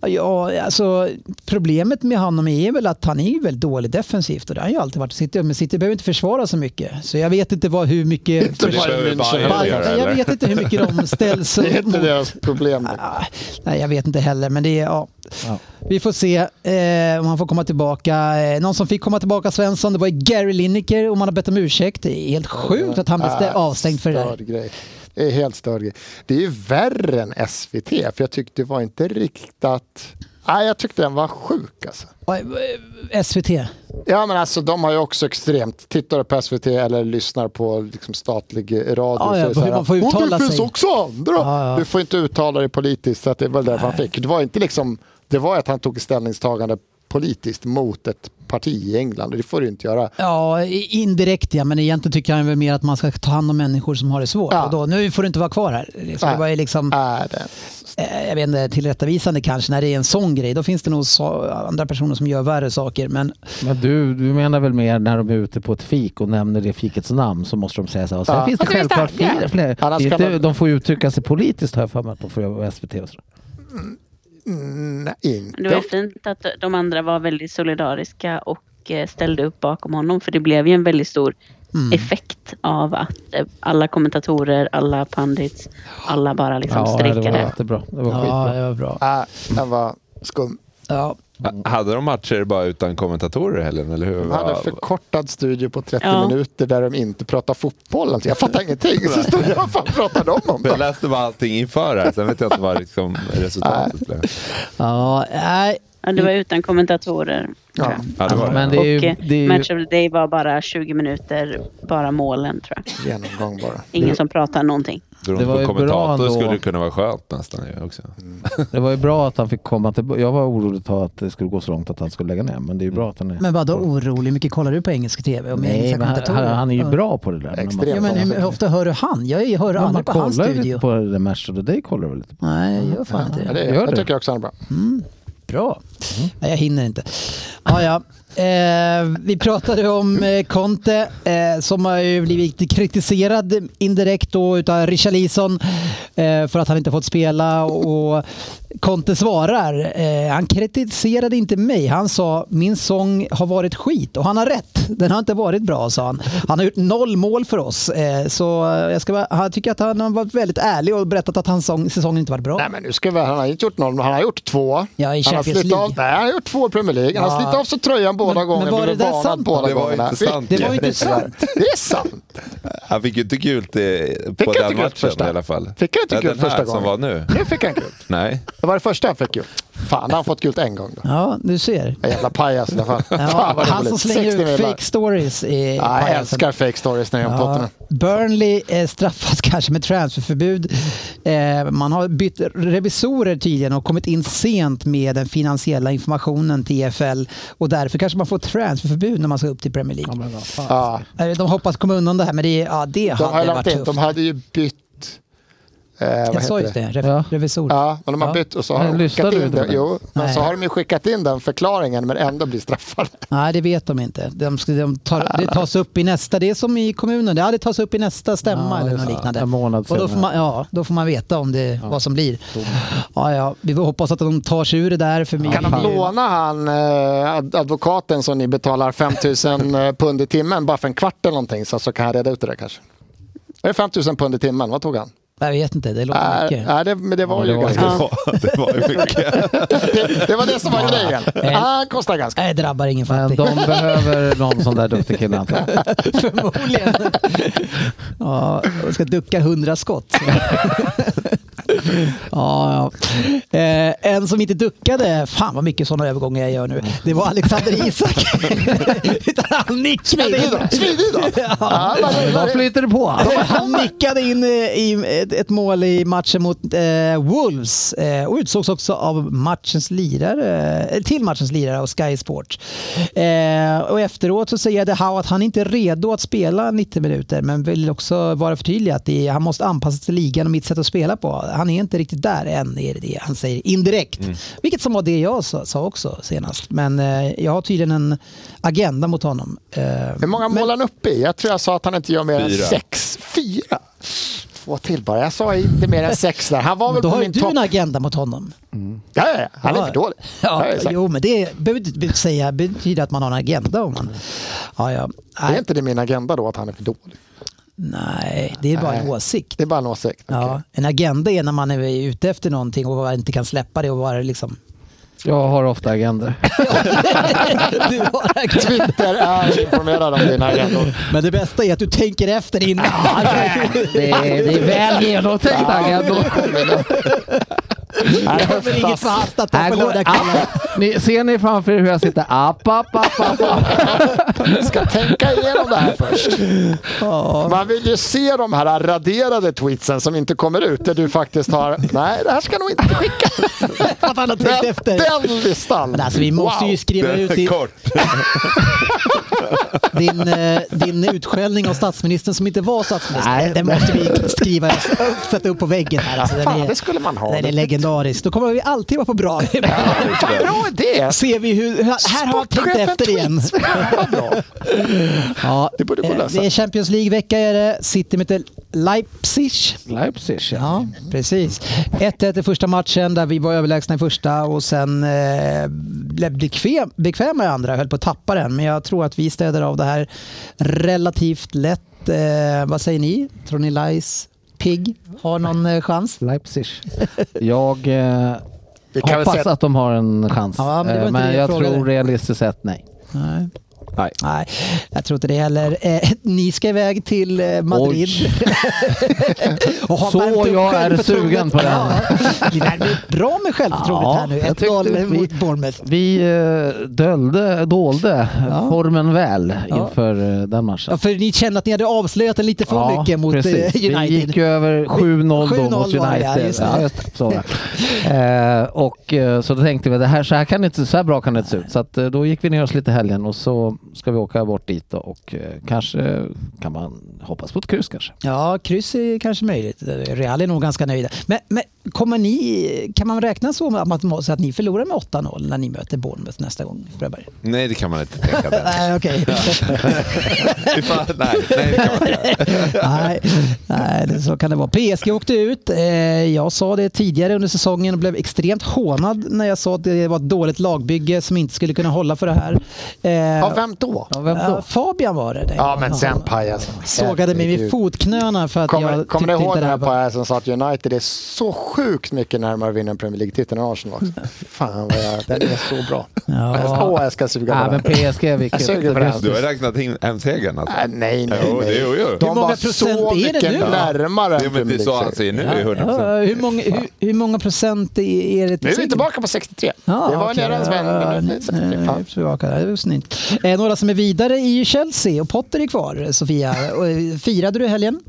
S3: Ja, alltså, problemet med honom är väl att han är ju väldigt dålig defensivt och det har han ju alltid varit. i City, men City behöver inte försvara så mycket. Så jag vet inte vad, hur mycket...
S5: det behöver Bayern
S3: Bayern-
S5: göra,
S3: Nej, jag
S5: eller?
S3: vet inte hur mycket de ställs
S6: Det är inte
S3: mot-
S6: deras problem.
S3: Ah, Nej, jag vet inte heller, men det är... Ja.
S4: Ja.
S3: Vi får se eh, om han får komma tillbaka. Eh, någon som fick komma tillbaka, Svensson, det var ju Gary Lineker och man har bett om ursäkt. Det är helt sjukt att han blev
S6: Ah,
S3: stä- avstängd för det
S6: Störd
S3: där.
S6: grej. Det är helt störd grej. Det är ju värre än SVT, för jag tyckte det var inte riktat... Nej, jag tyckte den var sjuk alltså.
S3: Oj, eh, SVT.
S6: Ja, men alltså de har ju också extremt... Tittar du på SVT eller lyssnar på liksom, statlig radio
S3: Ah, Ja, ja,
S6: är det så
S3: hur
S6: här,
S3: man får
S6: "Åh,
S3: uttala
S6: Det finns
S3: sig." Ah,
S6: också andra!
S3: Ja, ja.
S6: Du får inte uttala dig politiskt, så att det var därför han fick. Det var inte liksom... Det var att han tog ett ställningstagande politiskt mot ett parti i England. Det får du ju inte göra.
S3: Ja, i- indirekt ja, men egentligen tycker han väl mer att man ska ta hand om människor som har det svårt.
S6: Ja.
S3: Och då, nu får du inte vara kvar här. Liksom, det
S6: Nej.
S3: var ju liksom,
S6: Är det?
S3: eh, jag vet inte, tillrättavisande kanske när det är en sån grej. Då finns det nog så, andra personer som gör värre saker. Men
S4: Men du, du menar väl mer när de är ute på ett fik och nämner det fikets namn så måste de säga så här. Och sen
S6: Ja.
S4: finns det
S2: Och så finns det
S4: självklart
S2: här,
S4: fler. fler.
S6: Annars
S4: Det är
S6: kan
S4: inte,
S6: man-
S4: De får ju uttrycka sig politiskt har jag för mig att de får göra på SVT och så.
S6: Nej, inte.
S7: Men Det var ju fint att de andra var väldigt solidariska och eh, ställde upp bakom honom för det blev ju en väldigt stor
S4: Mm.
S7: effekt av att eh, alla kommentatorer, alla pandits, alla bara liksom
S4: det var
S7: strejkade.
S4: jättebra. Det var
S3: ja,
S4: skitbra.
S3: det var bra.
S6: Nej, Äh, den var skum.
S3: Ja,
S5: Hade de matcher bara utan kommentatorer i helgen, eller hur?
S6: De hade
S5: Vad-
S6: förkortad studio på 30
S7: Ja.
S6: minuter där de inte pratade fotboll. Jag fattar ingenting. Så stod jag och fan pratade de om
S5: Jag
S6: det.
S5: läste bara allting inför här, sen vet jag inte vad liksom resultatet blev.
S3: ja nej.
S7: Ja, det var utan kommentatorer.
S6: Ja.
S5: Ja, det var det.
S4: Men det är ju...
S7: och eh,
S4: Det är ju
S7: Match of the Day var bara 20 minuter, bara målen tror jag.
S6: Genomgång bara.
S7: Ingen som pratar någonting.
S5: Beroende
S4: Det var
S5: på
S4: ju bra
S5: kommentator
S4: ändå.
S5: skulle det kunna vara skönt nästan ju också.
S6: Mm.
S4: Det var ju bra att han fick komma tillbaka. Jag var orolig för att det skulle gå så långt att han skulle lägga ner. Men det är ju bra att han är...
S3: Mm. Men vadå orolig? Hur mycket kollar du på engelsk tv? Och med
S4: Nej,
S3: engelska
S4: men han, han,
S3: kommentatorer?
S4: han är ju
S3: Ja.
S4: bra på det där. Men man-
S6: Extremt.
S3: Ja, men hur ofta hör du han? Jag hör
S4: Ja, man
S3: aldrig på hans
S4: kollar ju
S3: studio.
S4: lite på det där Match of the Day. Kollar du lite på.
S3: Nej, jag gör fan inte
S6: Ja,
S3: det.
S6: det är,
S4: Gör
S6: jag
S4: det.
S6: tycker också han är bra.
S3: Bra. Nej, jag hinner inte. Ja, ja. Eh, vi pratade om eh, Conte eh, som har ju blivit kritiserad indirekt då utav Richarlison eh, för att han inte fått spela och Conte svarar. Eh, han kritiserade inte mig. Han sa min sång har varit skit och han har rätt. Den har inte varit bra sa han. Han har gjort noll mål för oss. Eh, så eh, jag ska bara, han tycker att han har varit väldigt ärlig och berättat att hans sång, säsong inte varit bra.
S6: Nej men nu ska vi, han har inte gjort noll, men han har gjort två.
S3: Ja, i
S6: han har
S3: Champions
S6: slitit
S3: League.
S6: av, nej, han har gjort två i Premier League. Han har
S3: Ja.
S6: slitit av sig tröjan båda
S3: Men-
S6: gånger,
S3: men var
S6: blivit
S3: det där
S6: varnad
S3: sant?
S6: båda
S5: Det var
S6: gångerna.
S5: inte sant.
S3: Det var ju inte sant.
S6: Det är sant!
S5: Han fick ju inte gult i, på
S6: han inte
S5: den
S6: gult
S5: matchen
S6: första?
S5: i alla fall.
S6: Fick han inte
S5: Ja,
S6: gult
S5: den här
S6: första
S5: som
S6: gången?
S5: var nu.
S6: Nu fick han gult.
S5: Nej.
S6: Det var det första han fick gult. Fan, han har fått gult en gång då.
S3: Ja, du ser.
S6: En jävla pajas i alla fall.
S3: Ja,
S6: Fan vad
S3: han
S6: roligt.
S3: som slänger
S6: 60
S3: ut
S6: millar.
S3: fake stories i
S6: Ja, jag
S3: pajasen.
S6: älskar fake stories när jag är om Tottenham.
S3: Burnley eh, straffas kanske med transferförbud. Eh, man har bytt revisorer tydligen och kommit in sent med den finansiella informationen till EFL och därför kanske man får transferförbud när man ska upp till Premier League.
S6: Ja,
S3: Eh, De hoppas komma undan det här men det, är- ja, det
S6: de har
S3: hade
S6: ju lagt
S3: varit
S6: in,
S3: tufft.
S6: de hade ju bytt... Eh, vad
S3: Jag sa
S6: heter
S3: just det,
S6: det?
S3: re-
S4: Ja.
S3: revisor.
S6: Ja, men de har
S4: Ja.
S6: bytt och så har
S4: Men
S6: de
S4: lyssnar
S6: skickat
S4: du
S6: in
S4: inte på
S6: den.
S4: det?
S6: Jo, men
S3: Nej.
S6: så har de ju skickat in den förklaringen men ändå blir straffade.
S3: Nej, det vet de inte. De, ska- de tar, det tas upp i nästa, det är som i kommunen, det, ja, det tas upp i nästa stämma
S4: Ja,
S3: eller
S4: just
S3: något
S4: det.
S3: liknande.
S4: En månad
S3: och då får
S4: senare.
S3: man, ja, då får man veta om det, vad som blir. Ja, ja, vi får hoppas att de tar sig ur det där. För
S6: Kan de låna han eh, ad- advokaten som ni betalar 5000 eh, pund i timmen bara för en kvart eller någonting så, så kan han reda ut det där kanske? Är det 5000 pund i timmen? Vad tog han?
S3: Jag vet inte, det låter
S6: Nej,
S3: mycket.
S6: nej, det, men det var ju
S4: det var
S6: ganska...
S5: Det var, det var ju mycket.
S6: Det, det var det som var grejen. Han kostar ganska
S3: Nej, det drabbar ingen
S4: Men
S3: fattig.
S4: de behöver någon sån där duktig kille antar jag.
S3: Förmodligen. ja, och ska ducka hundra skott. ja, ja. Eh, en som inte duckade, fan vad mycket sådana övergångar jag gör nu, det var Alexander Isak. Utan han nickade
S6: Smidig
S3: in.
S6: då! Smidig då! Ja, vad gör
S4: Vad
S6: det?
S4: flyter det på?
S3: Alltså, Han nickade in eh, i ett, ett mål i matchen mot eh, Wolves eh, och utsågs också av matchens lirare, eh, till matchens lirare av Sky Sport. Eh, och efteråt så säger De Hau att han inte är redo att spela 90 minuter men vill också vara förtydlig att det, är- han måste anpassa sig till ligan och mitt sätt att spela på. Han är inte riktigt där än, är det det han säger indirekt.
S6: Mm.
S3: Vilket som var det jag sa, sa också senast. Men eh, jag har tydligen en agenda mot honom. Eh,
S6: Hur många mål han uppe i? Jag tror jag sa att han inte gör mer än
S5: Fyra.
S6: sex. Fyra? Två till bara. Jag sa inte mer än sex där. Han var väl
S3: då
S6: på
S3: har ju
S6: min
S3: du
S6: topp.
S3: en agenda mot honom.
S6: Ja, ja, ja. han är
S3: Ja.
S6: för dålig.
S3: Ja,
S6: Det är sagt.
S3: jo, men det betyder, säga, betyder att man har en agenda. Om man, ja, ja.
S6: Är
S3: Nej,
S6: inte det min agenda då att han är för dålig?
S3: nej, det är bara en
S6: Nej.
S3: åsikt.
S6: Det är bara en åsikt. Okej.
S3: Ja, en agenda är när man är ute efter någonting och bara inte kan släppa det och bara liksom...
S4: Jag har ofta agender.
S3: Du har agenda.
S6: Twitter är informerad om dina agendor.
S3: Men det bästa är att du tänker efter innan.
S4: Det är, det är väl genomtänkt agendor.
S3: Det kommer inget förhastat på lördagskvällen.
S4: app. Ah, Ni, ser ni framför er hur jag sitter? App, app, app, app.
S6: Jag ska tänka igenom det här först. Man vill ju se de här raderade tweetsen som inte kommer ut där du faktiskt har, nej det här ska nog inte skicka.
S3: För att han har tänkt
S6: Den,
S3: efter.
S6: den listan.
S3: Men Alltså, vi måste ju skriva ut
S5: Det är
S3: din,
S5: kort.
S3: din, eh, din utskällning av statsministern som inte var statsminister.
S4: Nej.
S3: den måste vi skriva, sätta upp på väggen här. Alltså, den
S6: Fan,
S3: är-
S6: det skulle man ha.
S3: Den är legendarisk. Då kommer vi alltid vara på bra.
S6: Fan, bra idé!
S3: Ser vi hur... Här har han tänkt
S6: Sportchefen
S3: efter igen. ja,
S6: Det borde gå att
S3: eh,
S6: lösa.
S3: det är Champions League-vecka. Är det. City möter Leipzig.
S4: Leipzig, ja.
S3: Ja, precis. 1-1 i första matchen där vi var överlägsna i första och sen eh, blev bekväm, bekväma i andra. Höll på att tappa den, men jag tror att vi städar av det här relativt lätt. Eh, vad säger ni? Tror ni Lais Pigg har någon eh, chans?
S4: Leipzig. Jag eh,
S6: Vi kan väl
S4: hoppas
S6: säga-
S4: att de har en chans.
S3: Ja, men det var
S4: Eh,
S3: inte det jag
S4: jag
S3: frågade.
S4: tror realistiskt sett nej.
S3: Nej.
S5: Nej.
S3: Nej, jag tror inte det heller. Eh, ni ska iväg till eh, Madrid. Och ha
S4: Så
S3: värmt upp
S4: jag är
S3: självförtroendet.
S4: sugen på det här.
S3: Ja, Ni värmer upp bra med självförtroendet
S4: Ja,
S3: här nu.
S4: jag tyckte
S3: 1-0
S4: vi-
S3: mot Bournemouth.
S4: Vi eh, dölde, dolde
S3: Ja.
S4: formen väl
S3: Ja.
S4: inför eh, den matchen.
S3: Ja, för ni kände att ni hade avslöjat den lite för
S4: Ja,
S3: mycket mot eh,
S4: precis.
S3: United.
S4: Vi gick ju över 7-0 då
S3: 7-0
S4: mot
S3: var det,
S4: United.
S3: ja, just det.
S4: Ja, just det. så var det. eh, och eh, så då tänkte vi det här, så här kan det inte, så här bra kan det inte se ut. Så att, eh, då gick vi ner oss lite i helgen och så ska vi åka bort dit då och eh, kanske kan man hoppas på ett kryss kanske.
S3: Ja, kryss är kanske möjligt. Real är nog ganska nöjda. Men, men kommer ni, kan man räkna så att, man, så att ni förlorar med 8-0 när ni möter Bournemouth nästa gång? Fröberg?
S5: Nej, det kan man inte tänka den.
S3: Nej, okej.
S5: Fy fan, nej, nej, det kan man inte göra.
S3: nej, nej, det- så kan det vara. PSG åkte ut. Eh, Jag sa det tidigare under säsongen och blev extremt hånad när jag sa att det var ett dåligt lagbygge som inte skulle kunna hålla för det här. Eh,
S6: Ja, vem då?
S4: Ja, vem
S3: ja,
S4: då?
S3: Fabian var det.
S6: Ja, men sen pajas.
S3: Sågade mig vid
S6: Herregud.
S3: fotknölarna för att
S6: Kommer,
S3: jag
S6: kommer du
S3: tyckte
S6: ihåg
S3: inte
S6: den
S3: det här
S6: här
S3: var...
S6: pajasen som sa att United är så sjukt mycket närmare att vinna en Premier League-titel än Arsenal också? Fan vad jag, den är så bra.
S3: Ja.
S6: Åh, jag ska suga
S4: Ja,
S6: på
S4: men
S6: den.
S4: PSG, vilket...
S6: Jag suger på det här.
S5: Du har räknat in hem-segern alltså?
S6: Nej, nej, nej.
S5: Jo, det- jo, jo.
S6: De
S3: Hur många
S6: var
S3: procent
S6: så
S3: är det
S6: mycket
S3: nu då?
S6: närmare
S5: Jo, men
S6: en Premier
S5: det är så han
S6: League-serie.
S5: säger nu, är ju 100 procent.
S3: Ja, hur, många, hur, hur många procent är är det?
S6: Nu är vi tillbaka på 63. det var
S3: okej.
S6: nere en sväng,
S3: Ja,
S6: men nu är
S3: nu-
S6: det
S3: nu
S6: 63.
S3: är vi
S6: Ja.
S3: tillbaka. Det var snyggt. Eh, Några som är vidare är ju Chelsea och Potter är kvar, Sofia. Och, eh, Firade du helgen?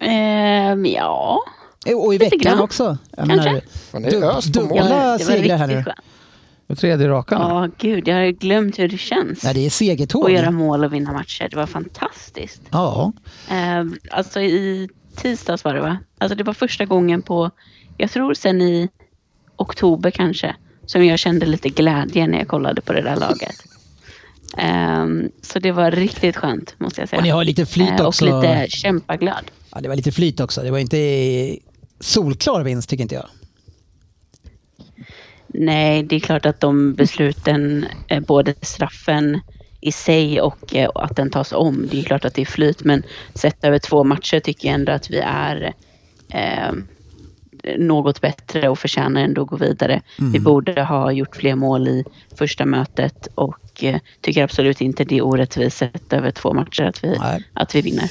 S7: Ehm, ja.
S3: Eh, Och i
S7: Lite
S3: veckan
S7: grann.
S3: också? Jag
S7: Kanske.
S6: Fan, det är ös på mål.
S7: ja men
S3: dubbla
S7: det var
S3: segrar här nu.
S7: riktigt skönt.
S4: Och Tredje raka.
S7: Ja, gud, jag har ju glömt hur det känns.
S3: Nej, det är segertåg.
S7: Att göra mål och vinna matcher. Det var fantastiskt.
S3: Ja.
S7: Eh, alltså i tisdags var det va? Alltså det var första gången på, jag tror sen i oktober kanske, som jag kände lite glädje när jag kollade på det där laget. Eh, så det var riktigt skönt måste jag säga.
S3: Och ni har lite flyt
S7: Eh,
S3: också.
S7: Och lite kämpaglöd.
S3: ja, det var lite flyt också. Det var inte solklar vinst tycker inte jag.
S7: Nej, det är klart att de besluten, eh, både straffen i sig och eh, och att den tas om, det är klart att det är flyt. Men sett över två matcher tycker jag ändå att vi är eh, något bättre och förtjänar ändå att gå vidare. Vi borde ha gjort fler mål i första mötet och eh, tycker absolut inte det är orättvist sett över två matcher att vi,
S3: Nej.
S7: att vi vinner.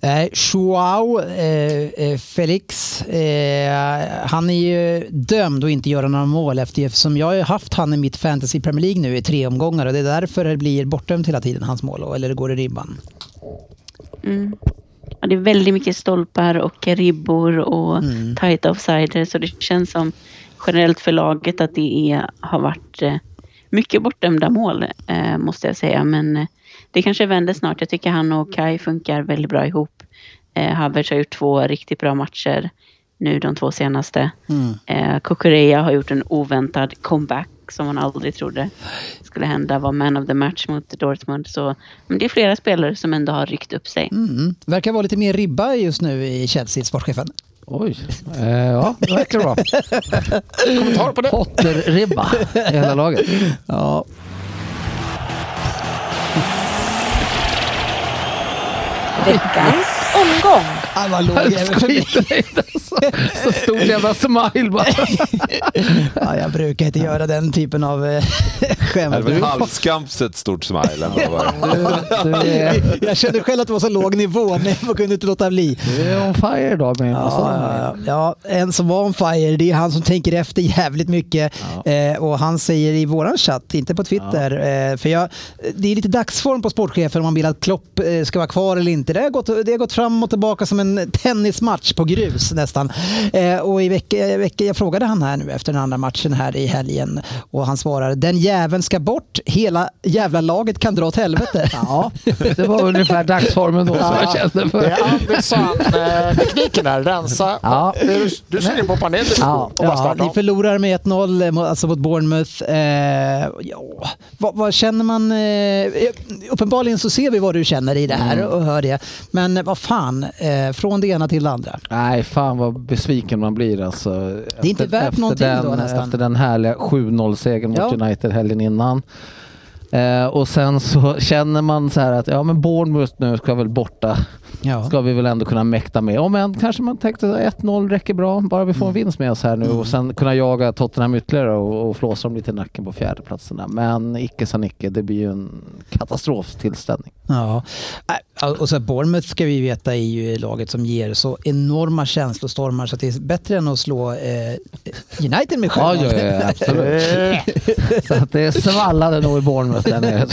S3: Eh, Joao eh, eh, Felix, eh, han är ju dömd att inte göra några mål eftersom jag har ju haft han i mitt fantasy Premier League nu i tre omgångar och det är därför det blir bortdömt hela tiden, hans mål, eller det går i ribban.
S7: Ja, det är väldigt mycket stolpar och ribbor och tight offsider. Så det känns som generellt för laget att det är, har varit eh, mycket bortdömda mål, eh, måste jag säga. Men eh, det kanske vänder snart. Jag tycker han och Kai funkar väldigt bra ihop. Eh, Havertz har gjort två riktigt bra matcher nu de två senaste. Eh, Kukureya har gjort en oväntad comeback som man aldrig trodde skulle hända. Var man of the match mot Dortmund. Så, men det är flera spelare som ändå har ryckt upp sig.
S3: Mm. Verkar vara lite mer ribba just nu i Chelsea, sportchefen.
S4: Oj. Eh, ja, det verkar bra.
S6: Kommentar på det?
S4: Potter-ribba i hela laget.
S3: Ja.
S8: Veckans omgång.
S3: Ah, vad låg jag
S4: Skit alltså. Så stort jävla smile bara.
S3: ja, Jag brukar inte göra den typen av eh,
S5: Det
S3: skämt.
S5: var halvskamset stort smile. ändå, va?
S4: Du är,
S3: Jag kände själv att det var så låg nivå, men jag kunde inte låta bli.
S4: du är on fire idag Alltså, med
S3: Ja, ja, ja, en som var on fire, det är han som tänker efter jävligt mycket. Eh, och han säger i våran chatt, inte på Twitter, eh, för jag, det är lite dagsform på sportchefen om man vill att Klopp eh, ska vara kvar eller inte. Det har gått, det har gått fram och tillbaka som en tennismatch på grus nästan. Eh, och i veck, eh, veck, jag frågade han här nu efter den andra matchen här i helgen och han svarar den jäveln ska bort, hela jävla laget kan dra åt helvete. ja.
S4: Det var ungefär dagsformen då som jag kände
S6: Det
S4: för.
S6: är Andersson-tekniken där, rensa.
S4: Ja.
S6: Du, du suger på paneler
S3: Ja,
S6: och bara
S3: ja,
S6: startar
S3: ni
S6: om.
S3: förlorar med 1-0 eh, mot- alltså mot Bournemouth. Eh, ja, vad, vad känner man? Eh, uppenbarligen så ser vi vad du känner i det här
S4: Mm.
S3: och hör det. Men eh, vad fan, eh, från det ena till det andra.
S4: Nej, fan vad besviken man blir alltså. Det
S3: är inte värt någonting
S4: den,
S3: då, nästan.
S4: Efter den härliga 7-0-segern mot
S3: Ja.
S4: United helgen innan. Eh, och sen så känner man så här att ja men Bournemouth nu ska väl borta.
S3: Ja.
S4: Ska vi väl ändå kunna mäkta med. Om än kanske man tänkte att 1-0 räcker bra. Bara vi får
S3: Mm.
S4: en vinst med oss här nu och sen kunna jaga Tottenham ytterligare och, och flåsa dem lite i nacken på fjärdeplatserna. Men icke sa Nicke, det blir ju en katastroftillställning.
S3: Ja. Eh, Och så Bournemouth ska vi veta är ju laget som ger så enorma känslostormar så att det är bättre än att slå eh, United med
S4: Ja,
S3: själva.
S4: ja, ja absolut. så att det svallade nog i Bournemouth där nere.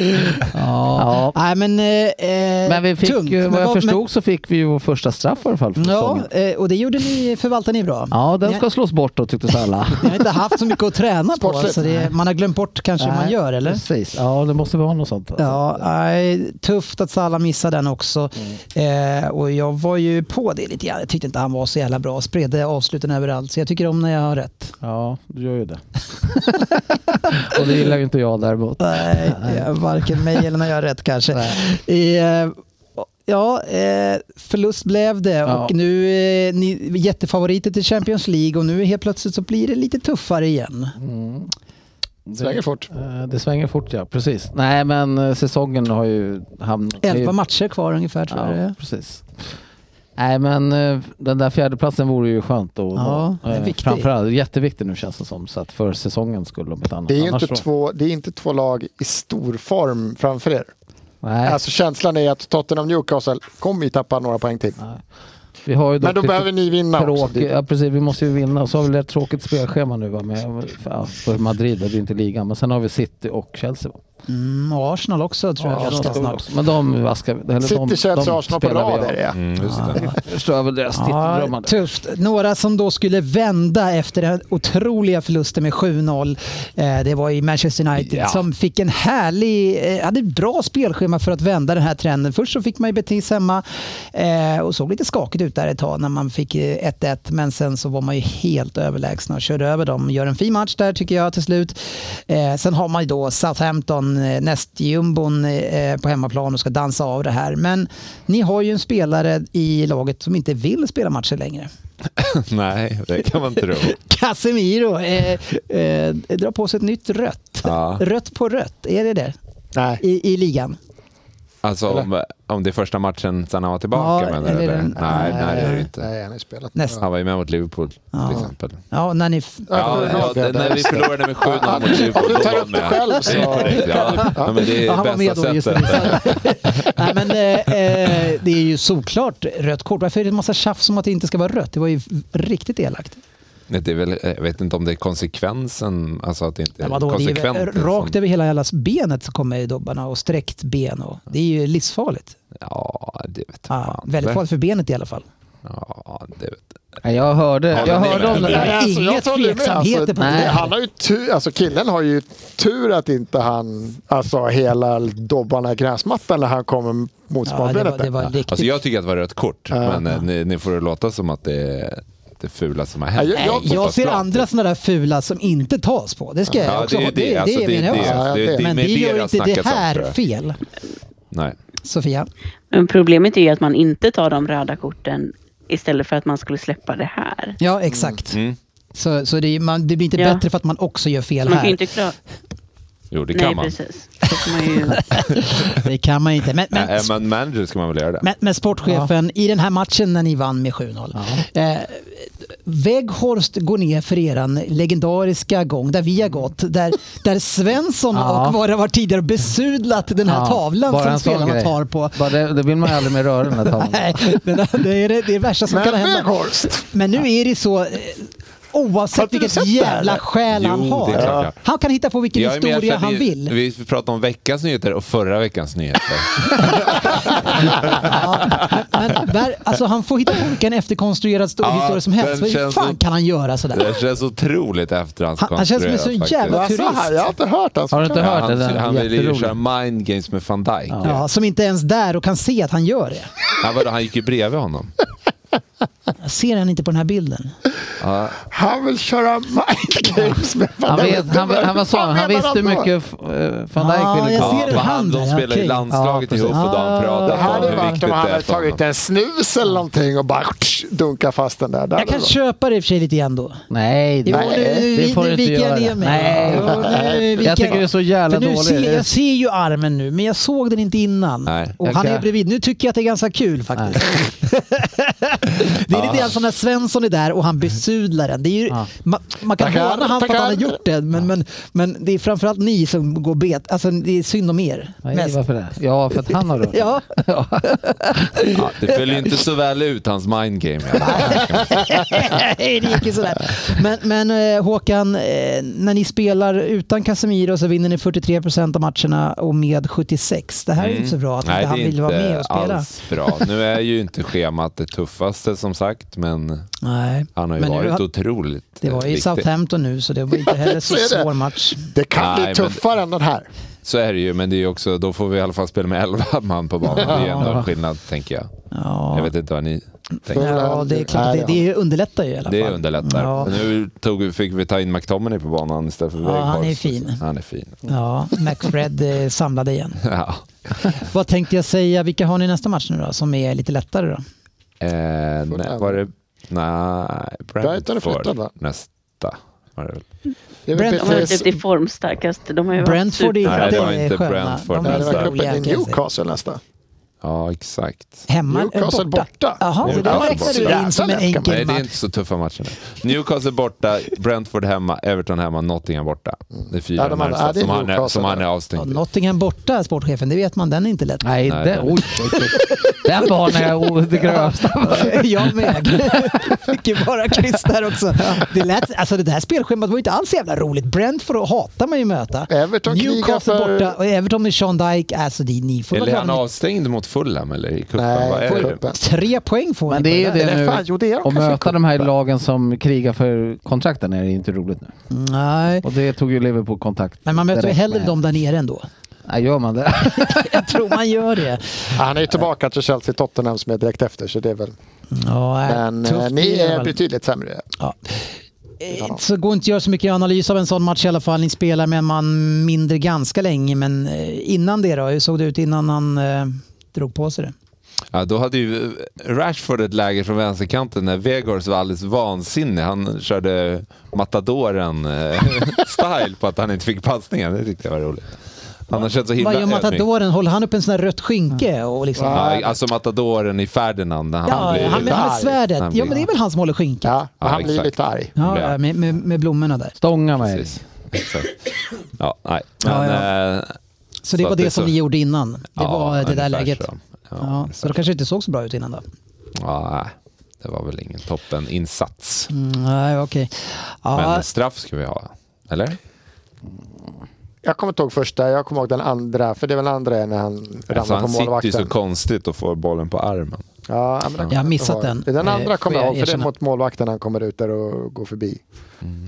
S3: Ja. Nej, men... Eh, eh,
S4: Men vi fick
S3: tungt.
S4: ju,
S3: Men
S4: vad jag
S3: men-
S4: förstod så fick vi ju vår första straff i alla fall för
S3: Ja,
S4: säsongen.
S3: eh, och det gjorde ni, förvaltade ni bra.
S4: Ja, den
S3: Ni-
S4: ska slås bort då tycktes alla.
S3: Ni har inte haft så mycket att träna på,
S6: Sportsligt.
S3: så det, man har glömt bort kanske hur man
S4: Nej,
S3: gör, eller?
S4: Precis, ja det måste vara något sånt. alltså.
S3: Ja, nej, tufft att Salah missade den också. Eh, och jag var ju på det lite grann. Jag tyckte inte han var så jävla bra. Spred avsluten överallt. Så jag tycker om när jag har rätt.
S4: ja, du gör ju det. Och det gillar ju inte jag däremot.
S3: Nej, eh, varken mig eller när jag har rätt kanske. Eh, ja, eh, förlust blev det
S4: Ja.
S3: och nu är ni jättefavoriter till Champions League och nu helt plötsligt så blir det lite tuffare igen.
S6: Svänger fort.
S4: Eh, Det svänger fort ja, precis. Nej men eh, säsongen har ju hamnat...
S3: Elva matcher kvar ungefär tror jag det
S4: Ja,
S3: är.
S4: precis. Nej men eh, den där fjärdeplatsen vore ju skönt att
S3: Ja,
S4: nå.
S3: den är
S4: Eh,
S3: viktig.
S4: Framförallt jätteviktig nu känns det som. Så att för säsongen skulle om ett annat.
S6: Det är, ju
S4: Annars
S6: inte
S4: så-
S6: två, det är inte två lag i stor form framför er.
S4: Nej,
S6: Alltså känslan är att Tottenham Newcastle kommer ju tappa några poäng till.
S4: vi har ju dock
S6: Men då
S4: lite
S6: behöver ni vinna också.
S4: tråkigt- ja, precis, vi måste ju vinna. Och så har vi ett tråkigt spelschema nu va? Med, ja, för Madrid, det är inte ligan. Men sen har vi City och Chelsea. Va?
S3: Mm, och Arsenal också tror jag
S4: Ja, de
S3: ganska
S4: ska-
S3: snart.
S4: Men de vaskar vi. eller de-
S6: City, Chelsea,
S4: de
S6: Arsenal på
S4: spelar vi
S6: rad
S4: av.
S6: är det.
S5: Mm, just det.
S4: Förstör väl deras
S3: Ja,
S4: tittardrömmar.
S3: tufft. Några som då skulle vända efter den otroliga förlusten med 7-0. Eh, det var i Manchester United
S4: Ja.
S3: som fick en härlig, eh, hade ett bra spelschema för att vända den här trenden. Först så fick man ju Betis hemma eh, och såg lite skakigt ut där ett tag när man fick eh, 1-1. Men sen så var man ju helt överlägsna och körde över dem. Gör en fin match där tycker jag till slut. Eh, sen har man ju då Southampton, eh, nästjumbon eh, på hemmaplan och ska dansa av det här. Men ni har ju en spelare i laget som inte vill spela matcher längre.
S5: Nej, det kan man tro.
S3: Casemiro eh, eh, drar på sig ett nytt rött.
S5: Ja.
S3: Rött på rött, är det det?
S6: Nej.
S3: I, i ligan?
S5: Alltså om, om det är första matchen sen han var tillbaka
S3: Ja,
S5: menar du?
S3: eller
S5: Eller?
S3: den-
S5: Nej, nej, det är det inte.
S6: Nej, han har ju spelat.
S3: Nästa.
S5: Han var ju med mot Liverpool
S3: Ja.
S5: till exempel.
S3: Ja, när ni...
S5: Ja, ja, det, när vi förlorade med 7-0 mot Liverpool.
S6: Om du
S5: då
S6: tar
S5: var
S6: upp det
S5: med.
S6: själv så-
S5: Det är korrekt, ja. Ja, men
S3: Ja,
S5: det är
S3: han var med
S5: bästa
S3: då just
S5: sättet.
S3: det. Nej, men, eh, eh, det är ju såklart rött kort. Varför är det en massa tjafs om att det inte ska vara rött? Det var ju riktigt elakt.
S5: Nej, Det är väl, jag vet inte om det är konsekvensen. Alltså att det inte
S3: Ja,
S5: är
S3: vadå, det är
S5: konsekvent. liksom.
S3: väl rakt över hela jävlas benet så kommer dobbarna och sträckt ben. Och, det är ju livsfarligt.
S5: Ja, det vet jag
S3: Ja,
S5: fan.
S3: väldigt farligt för benet i alla fall.
S5: Ja, det vet
S4: Nej, Jag hörde,
S5: Ja,
S4: jag
S5: men det-
S4: hörde om det
S5: det-
S4: där.
S6: Nej, alltså, jag
S3: Inget
S6: håller med.
S3: tveksamheter
S6: Alltså,
S3: på
S6: nej,
S4: det.
S6: han har ju tur, alltså killen har ju tur att inte han, alltså hela dobbarna i gräsmattan när han kommer mot
S3: Ja, det, var,
S6: smalbenet.
S3: det var
S6: där.
S3: riktigt.
S5: Alltså jag tycker att det var rött kort,
S6: Ja.
S5: men eh, ni, ni får det låta som att det är det fulaste som har hänt.
S6: Ja, jag- jag-
S5: på
S3: Jag ser
S5: fotbollsplan.
S3: andra sådana där fula som inte tas på. Det ska jag
S5: Ja,
S3: också
S5: det är ju
S3: hålla-
S5: det. Alltså, det, är
S3: menar jag
S5: det,
S3: också.
S6: Ja,
S5: det,
S6: det-
S5: det,
S3: Men
S5: med
S3: det gör ju
S5: har
S3: inte det
S5: snackats om, tror
S3: här
S5: jag.
S3: fel,
S5: Nej.
S3: Sofia.
S7: Men problemet är ju att man inte tar de röda korten istället för att man skulle släppa det här.
S3: Ja, exakt.
S5: Mm.
S3: Så, så det, är- man, det blir inte
S7: Ja.
S3: bättre för att man också gör fel
S7: Man kan ju
S3: här.
S7: inte klara...
S5: Jo, det kan
S7: Nej,
S5: man.
S7: precis. Då får man ju...
S3: Det kan man inte. Men, men,
S5: Men, är man manager ska man väl göra det.
S3: men, men sportchefen, i den här matchen när ni vann med 7-0. Eh, Weghorst går ner för eran legendariska gång där vi har gått. Där, där Svensson
S4: Ja.
S3: och vad det var tidigare besudlat den här
S4: Ja,
S3: tavlan
S4: bara
S3: som
S4: en sån
S3: spelarna
S4: grej.
S3: tar på.
S4: Bara det, det vill man ju aldrig mer röra den här tavlan.
S3: Nej, det, där- det är det, det är värsta som
S6: Men
S3: kan hända.
S6: Weghorst!
S3: Men nu är det så, eh,
S6: Har
S3: oavsett
S6: du
S3: vilket
S6: sett det
S3: jävla
S6: här?
S3: skäl
S5: Jo,
S3: han har.
S5: det är klart, ja.
S3: Han kan hitta på vilken
S5: Jag är med, jag
S3: historia
S5: känner
S3: han
S5: ju-
S3: vill.
S5: Vi pratar om veckans nyheter och förra veckans nyheter.
S3: Men där, alltså, han får hitta på vilken efterkonstruerad stor
S5: Ja,
S3: historia som helst.
S5: den
S3: Hur
S5: känns
S3: fan
S5: så-
S3: kan han göra sådär?
S5: Det känns otroligt efterhandskonstruerat.
S3: Han- han känns som en så
S5: faktiskt.
S3: jävla-
S6: Alltså,
S3: Turist.
S6: jag har inte hört hans
S4: Har du inte
S5: Ja,
S4: hört det?
S5: han,
S4: Den är
S5: han ville ju
S4: jätterolig.
S5: köra mind games med van Dijk. Ja.
S3: Ja, som inte ens där och kan se att han gör det.
S5: vadå, han gick ju bredvid honom.
S3: Jag ser han inte på den här bilden?
S5: Ja.
S6: Han vill köra mind games med
S4: Han,
S6: Van Dijk.
S4: vet, han, han var så,
S6: Vad
S4: han
S6: menar
S4: visste hur
S6: då?
S4: mycket eh, van
S3: Ah,
S4: Dijk ville
S3: jag
S4: gå.
S3: ser det.
S5: för han,
S3: han
S5: de
S3: där,
S5: spelar i
S3: okej.
S5: landslaget
S4: Ja,
S5: ihop och
S3: Ah.
S5: de
S6: Det
S5: pratar
S6: hade
S5: om hur
S6: varit om
S5: viktigt
S6: han
S5: det är
S6: hade
S5: för honom.
S6: tagit en snus eller någonting och bara dunka fast den där. Där
S3: Jag kan
S6: då.
S3: köpa det i och för sig lite grann då.
S4: Nej,
S3: Jo,
S4: nej,
S3: nu, nu,
S4: det får
S3: nu
S4: du inte
S3: viker jag ner
S4: göra.
S3: mig.
S4: Nej.
S3: Jo, nu viker
S4: Jag tycker det är så jävla
S3: För nu
S4: dåligt.
S3: ser, jag ser ju armen nu, men jag såg den inte innan.
S5: Nej.
S3: och
S4: Jag
S3: han är
S4: kan-
S3: bredvid. Nu tycker jag att det är ganska kul faktiskt. Det är lite grann som när Svensson är där och han besudlar en. Det är ju,
S4: Ja.
S3: man, man kan
S6: Tackar,
S3: håna han för att
S6: tackar.
S3: han har gjort det, men, men, men det är framförallt ni som går bet. Alltså, det är synd om er.
S4: Nej,
S3: mest.
S4: varför det? Ja, för att han har rört
S3: Ja,
S5: Ja, det föll ju inte så väl ut, hans mindgame.
S3: det gick ju sådär. Men, men eh, Håkan, eh, när ni spelar utan Casemiro så vinner ni 43 procent av matcherna och med 76. Det här är ju inte så bra att
S5: Mm. Nej,
S3: inte han
S5: det är
S3: vill vara
S5: inte
S3: med och spela.
S5: alls bra. Nu är ju inte schemat det tuffaste som sagt, men
S3: Nej,
S5: han har ju
S3: men nu
S5: varit
S3: har-
S5: otroligt eh,
S3: Det var ju
S5: viktig.
S3: Southampton nu så det var inte heller så
S6: Så är det.
S3: svår match.
S6: Det kan
S5: Nej,
S6: bli
S5: men-
S6: tuffare än den här.
S5: Så är det ju, men det är ju också, då får vi i alla fall spela med 11 man på banan. Det är ju ändå en skillnad, tänker jag. Jag
S3: Ja,
S5: vet inte vad ni tänker.
S3: ja det är klart. Det, det underlättar ju i alla fall.
S5: Det underlättar.
S3: Ja.
S5: Men Nu tog, fick vi ta in McTominay på banan istället för
S3: Ja, han
S5: Weghorst.
S3: är fin.
S5: Han är fin.
S3: Ja, McFred eh, samlade igen.
S5: Ja.
S3: Vad tänkte jag säga, vilka har ni nästa match nu då som är lite lättare då?
S5: Eh, nej, var det... Nej,
S6: Brighton är flyttad, va?
S5: Brentford nästa. Var det väl?
S6: Det är väl
S3: Brentford.
S7: De har ju
S6: precis-
S7: typ det formstarkaste. De har ju
S3: Brentford är ju
S5: Nej,
S3: det
S5: det var
S3: är
S5: inte
S3: sköna.
S5: Brentford.
S3: De
S6: typ- Nej,
S3: är
S6: det
S5: nästa.
S6: verkar
S3: så
S6: uppe
S3: roliga,
S6: i
S3: kan jag säga.
S6: Newcastle nästa.
S5: Ja, exakt.
S3: Hemma eh,
S6: Newcastle borta.
S3: Jaha, så det
S5: Newcastle
S3: räknar du
S6: borta.
S3: in som en
S6: Jävlar,
S3: enkel
S5: Nej, det är
S3: match.
S5: inte så tuffa matcher. nu. Newcastle borta, Brentford hemma, Everton hemma, Nottingham borta. Det är fyra
S6: Ja, de andra- ja,
S5: närmsta
S6: det är
S5: som, han är,
S6: Newcastle
S5: som han är
S6: där.
S3: Ja,
S5: avstängd i.
S3: Nottingham borta, sportchefen, det vet man, den är inte lätt.
S4: Nej,
S5: Nej,
S4: det,
S5: det-
S4: oj, oj, oj. Den banan är o- det grövsta.
S3: Jag med. Fick ju bara kryss där också. Det, lät, alltså det där spelschemat var ju inte alls jävla roligt. Brentford hatar man ju möta.
S6: Everton krigar
S3: Newcastle
S6: för-
S3: borta och Everton med Sean Dyke. Alltså det, ni får väl
S5: Eller är han
S3: vara-
S5: avstängd mot Fulham eller i cupen?
S6: Nej,
S5: Vad är det?
S6: cupen.
S3: Tre poäng får
S4: Men
S3: ni
S4: det
S3: på
S4: är ju
S3: där.
S4: det
S6: Eller fan,
S4: nu.
S6: jo, det är de
S4: Och
S6: kanske i
S4: möta de här
S6: cupen.
S4: lagen som krigar för kontrakten är det inte roligt nu.
S3: Nej.
S4: Och det tog ju Liverpool kontakt.
S3: Men man möter ju
S4: direkt
S3: hellre
S4: med.
S3: dem där nere ändå.
S4: Nej, gör man det?
S3: Jag tror man gör det.
S6: Han är ju tillbaka till Chelsea-Tottenham som är direkt efter. Så det är väl...
S3: Ja, nej,
S6: Men
S3: tufft
S6: eh, ni
S3: blir det
S6: är
S3: väl.
S6: betydligt sämre.
S3: Ja. Eh, Så går inte att göra så mycket analys av en sån match i alla fall. Ni spelar med en man mindre ganska länge, men eh, innan det då? Hur såg det ut innan han eh, drog på sig det?
S5: Ja, då hade ju Rashford ett läge från vänsterkanten när Vegors var alldeles vansinnig. Han körde matadoren-style på att han inte fick passningen. Det tyckte jag var roligt. Han har känt så himla
S3: Vad gör
S5: ödmjuk.
S3: matadoren? Håller han upp en sån här rött skynke? Och liksom, ja,
S5: Ja, alltså matadoren i Ferdinand när han blir...
S3: han med, han med svärdet.
S5: Han
S3: Ja,
S5: blir-
S3: men det är väl han som håller skynke?
S6: Ja,
S5: Ja,
S6: han blir
S5: exakt.
S6: lite arg.
S3: Ja,
S5: Ja.
S3: med, med, med blommorna där.
S4: Stånga mig.
S5: Precis. Exakt. Ja, nej. Men,
S3: Ja,
S5: eh,
S3: Så det
S5: Så
S3: var
S5: att
S3: det
S5: det
S3: som
S5: så-
S3: ni gjorde innan. Det
S5: ja,
S3: var det där
S5: ungefär
S3: läget.
S5: så. Ja,
S3: Ja, så det kanske inte såg så bra ut innan då?
S5: ja, nej. det var väl ingen toppeninsats.
S3: Mm, Nej, okej. Ja,
S5: Men straff ska vi ha, eller?
S6: Jag kommer inte ihåg första, jag kommer ihåg den andra. För det var den andra är när han ramlar
S5: Alltså,
S6: på
S5: han sitter ju
S6: målvakten.
S5: så konstigt och får bollen på armen.
S6: ja, men den kommer
S3: Jag har missat
S6: ihåg.
S3: den.
S6: Den
S3: Eh,
S6: andra
S3: får
S6: kommer jag
S3: jag
S6: ihåg, för det är
S3: erkänna. Mm.
S6: mot målvakten han kommer ut där och går förbi.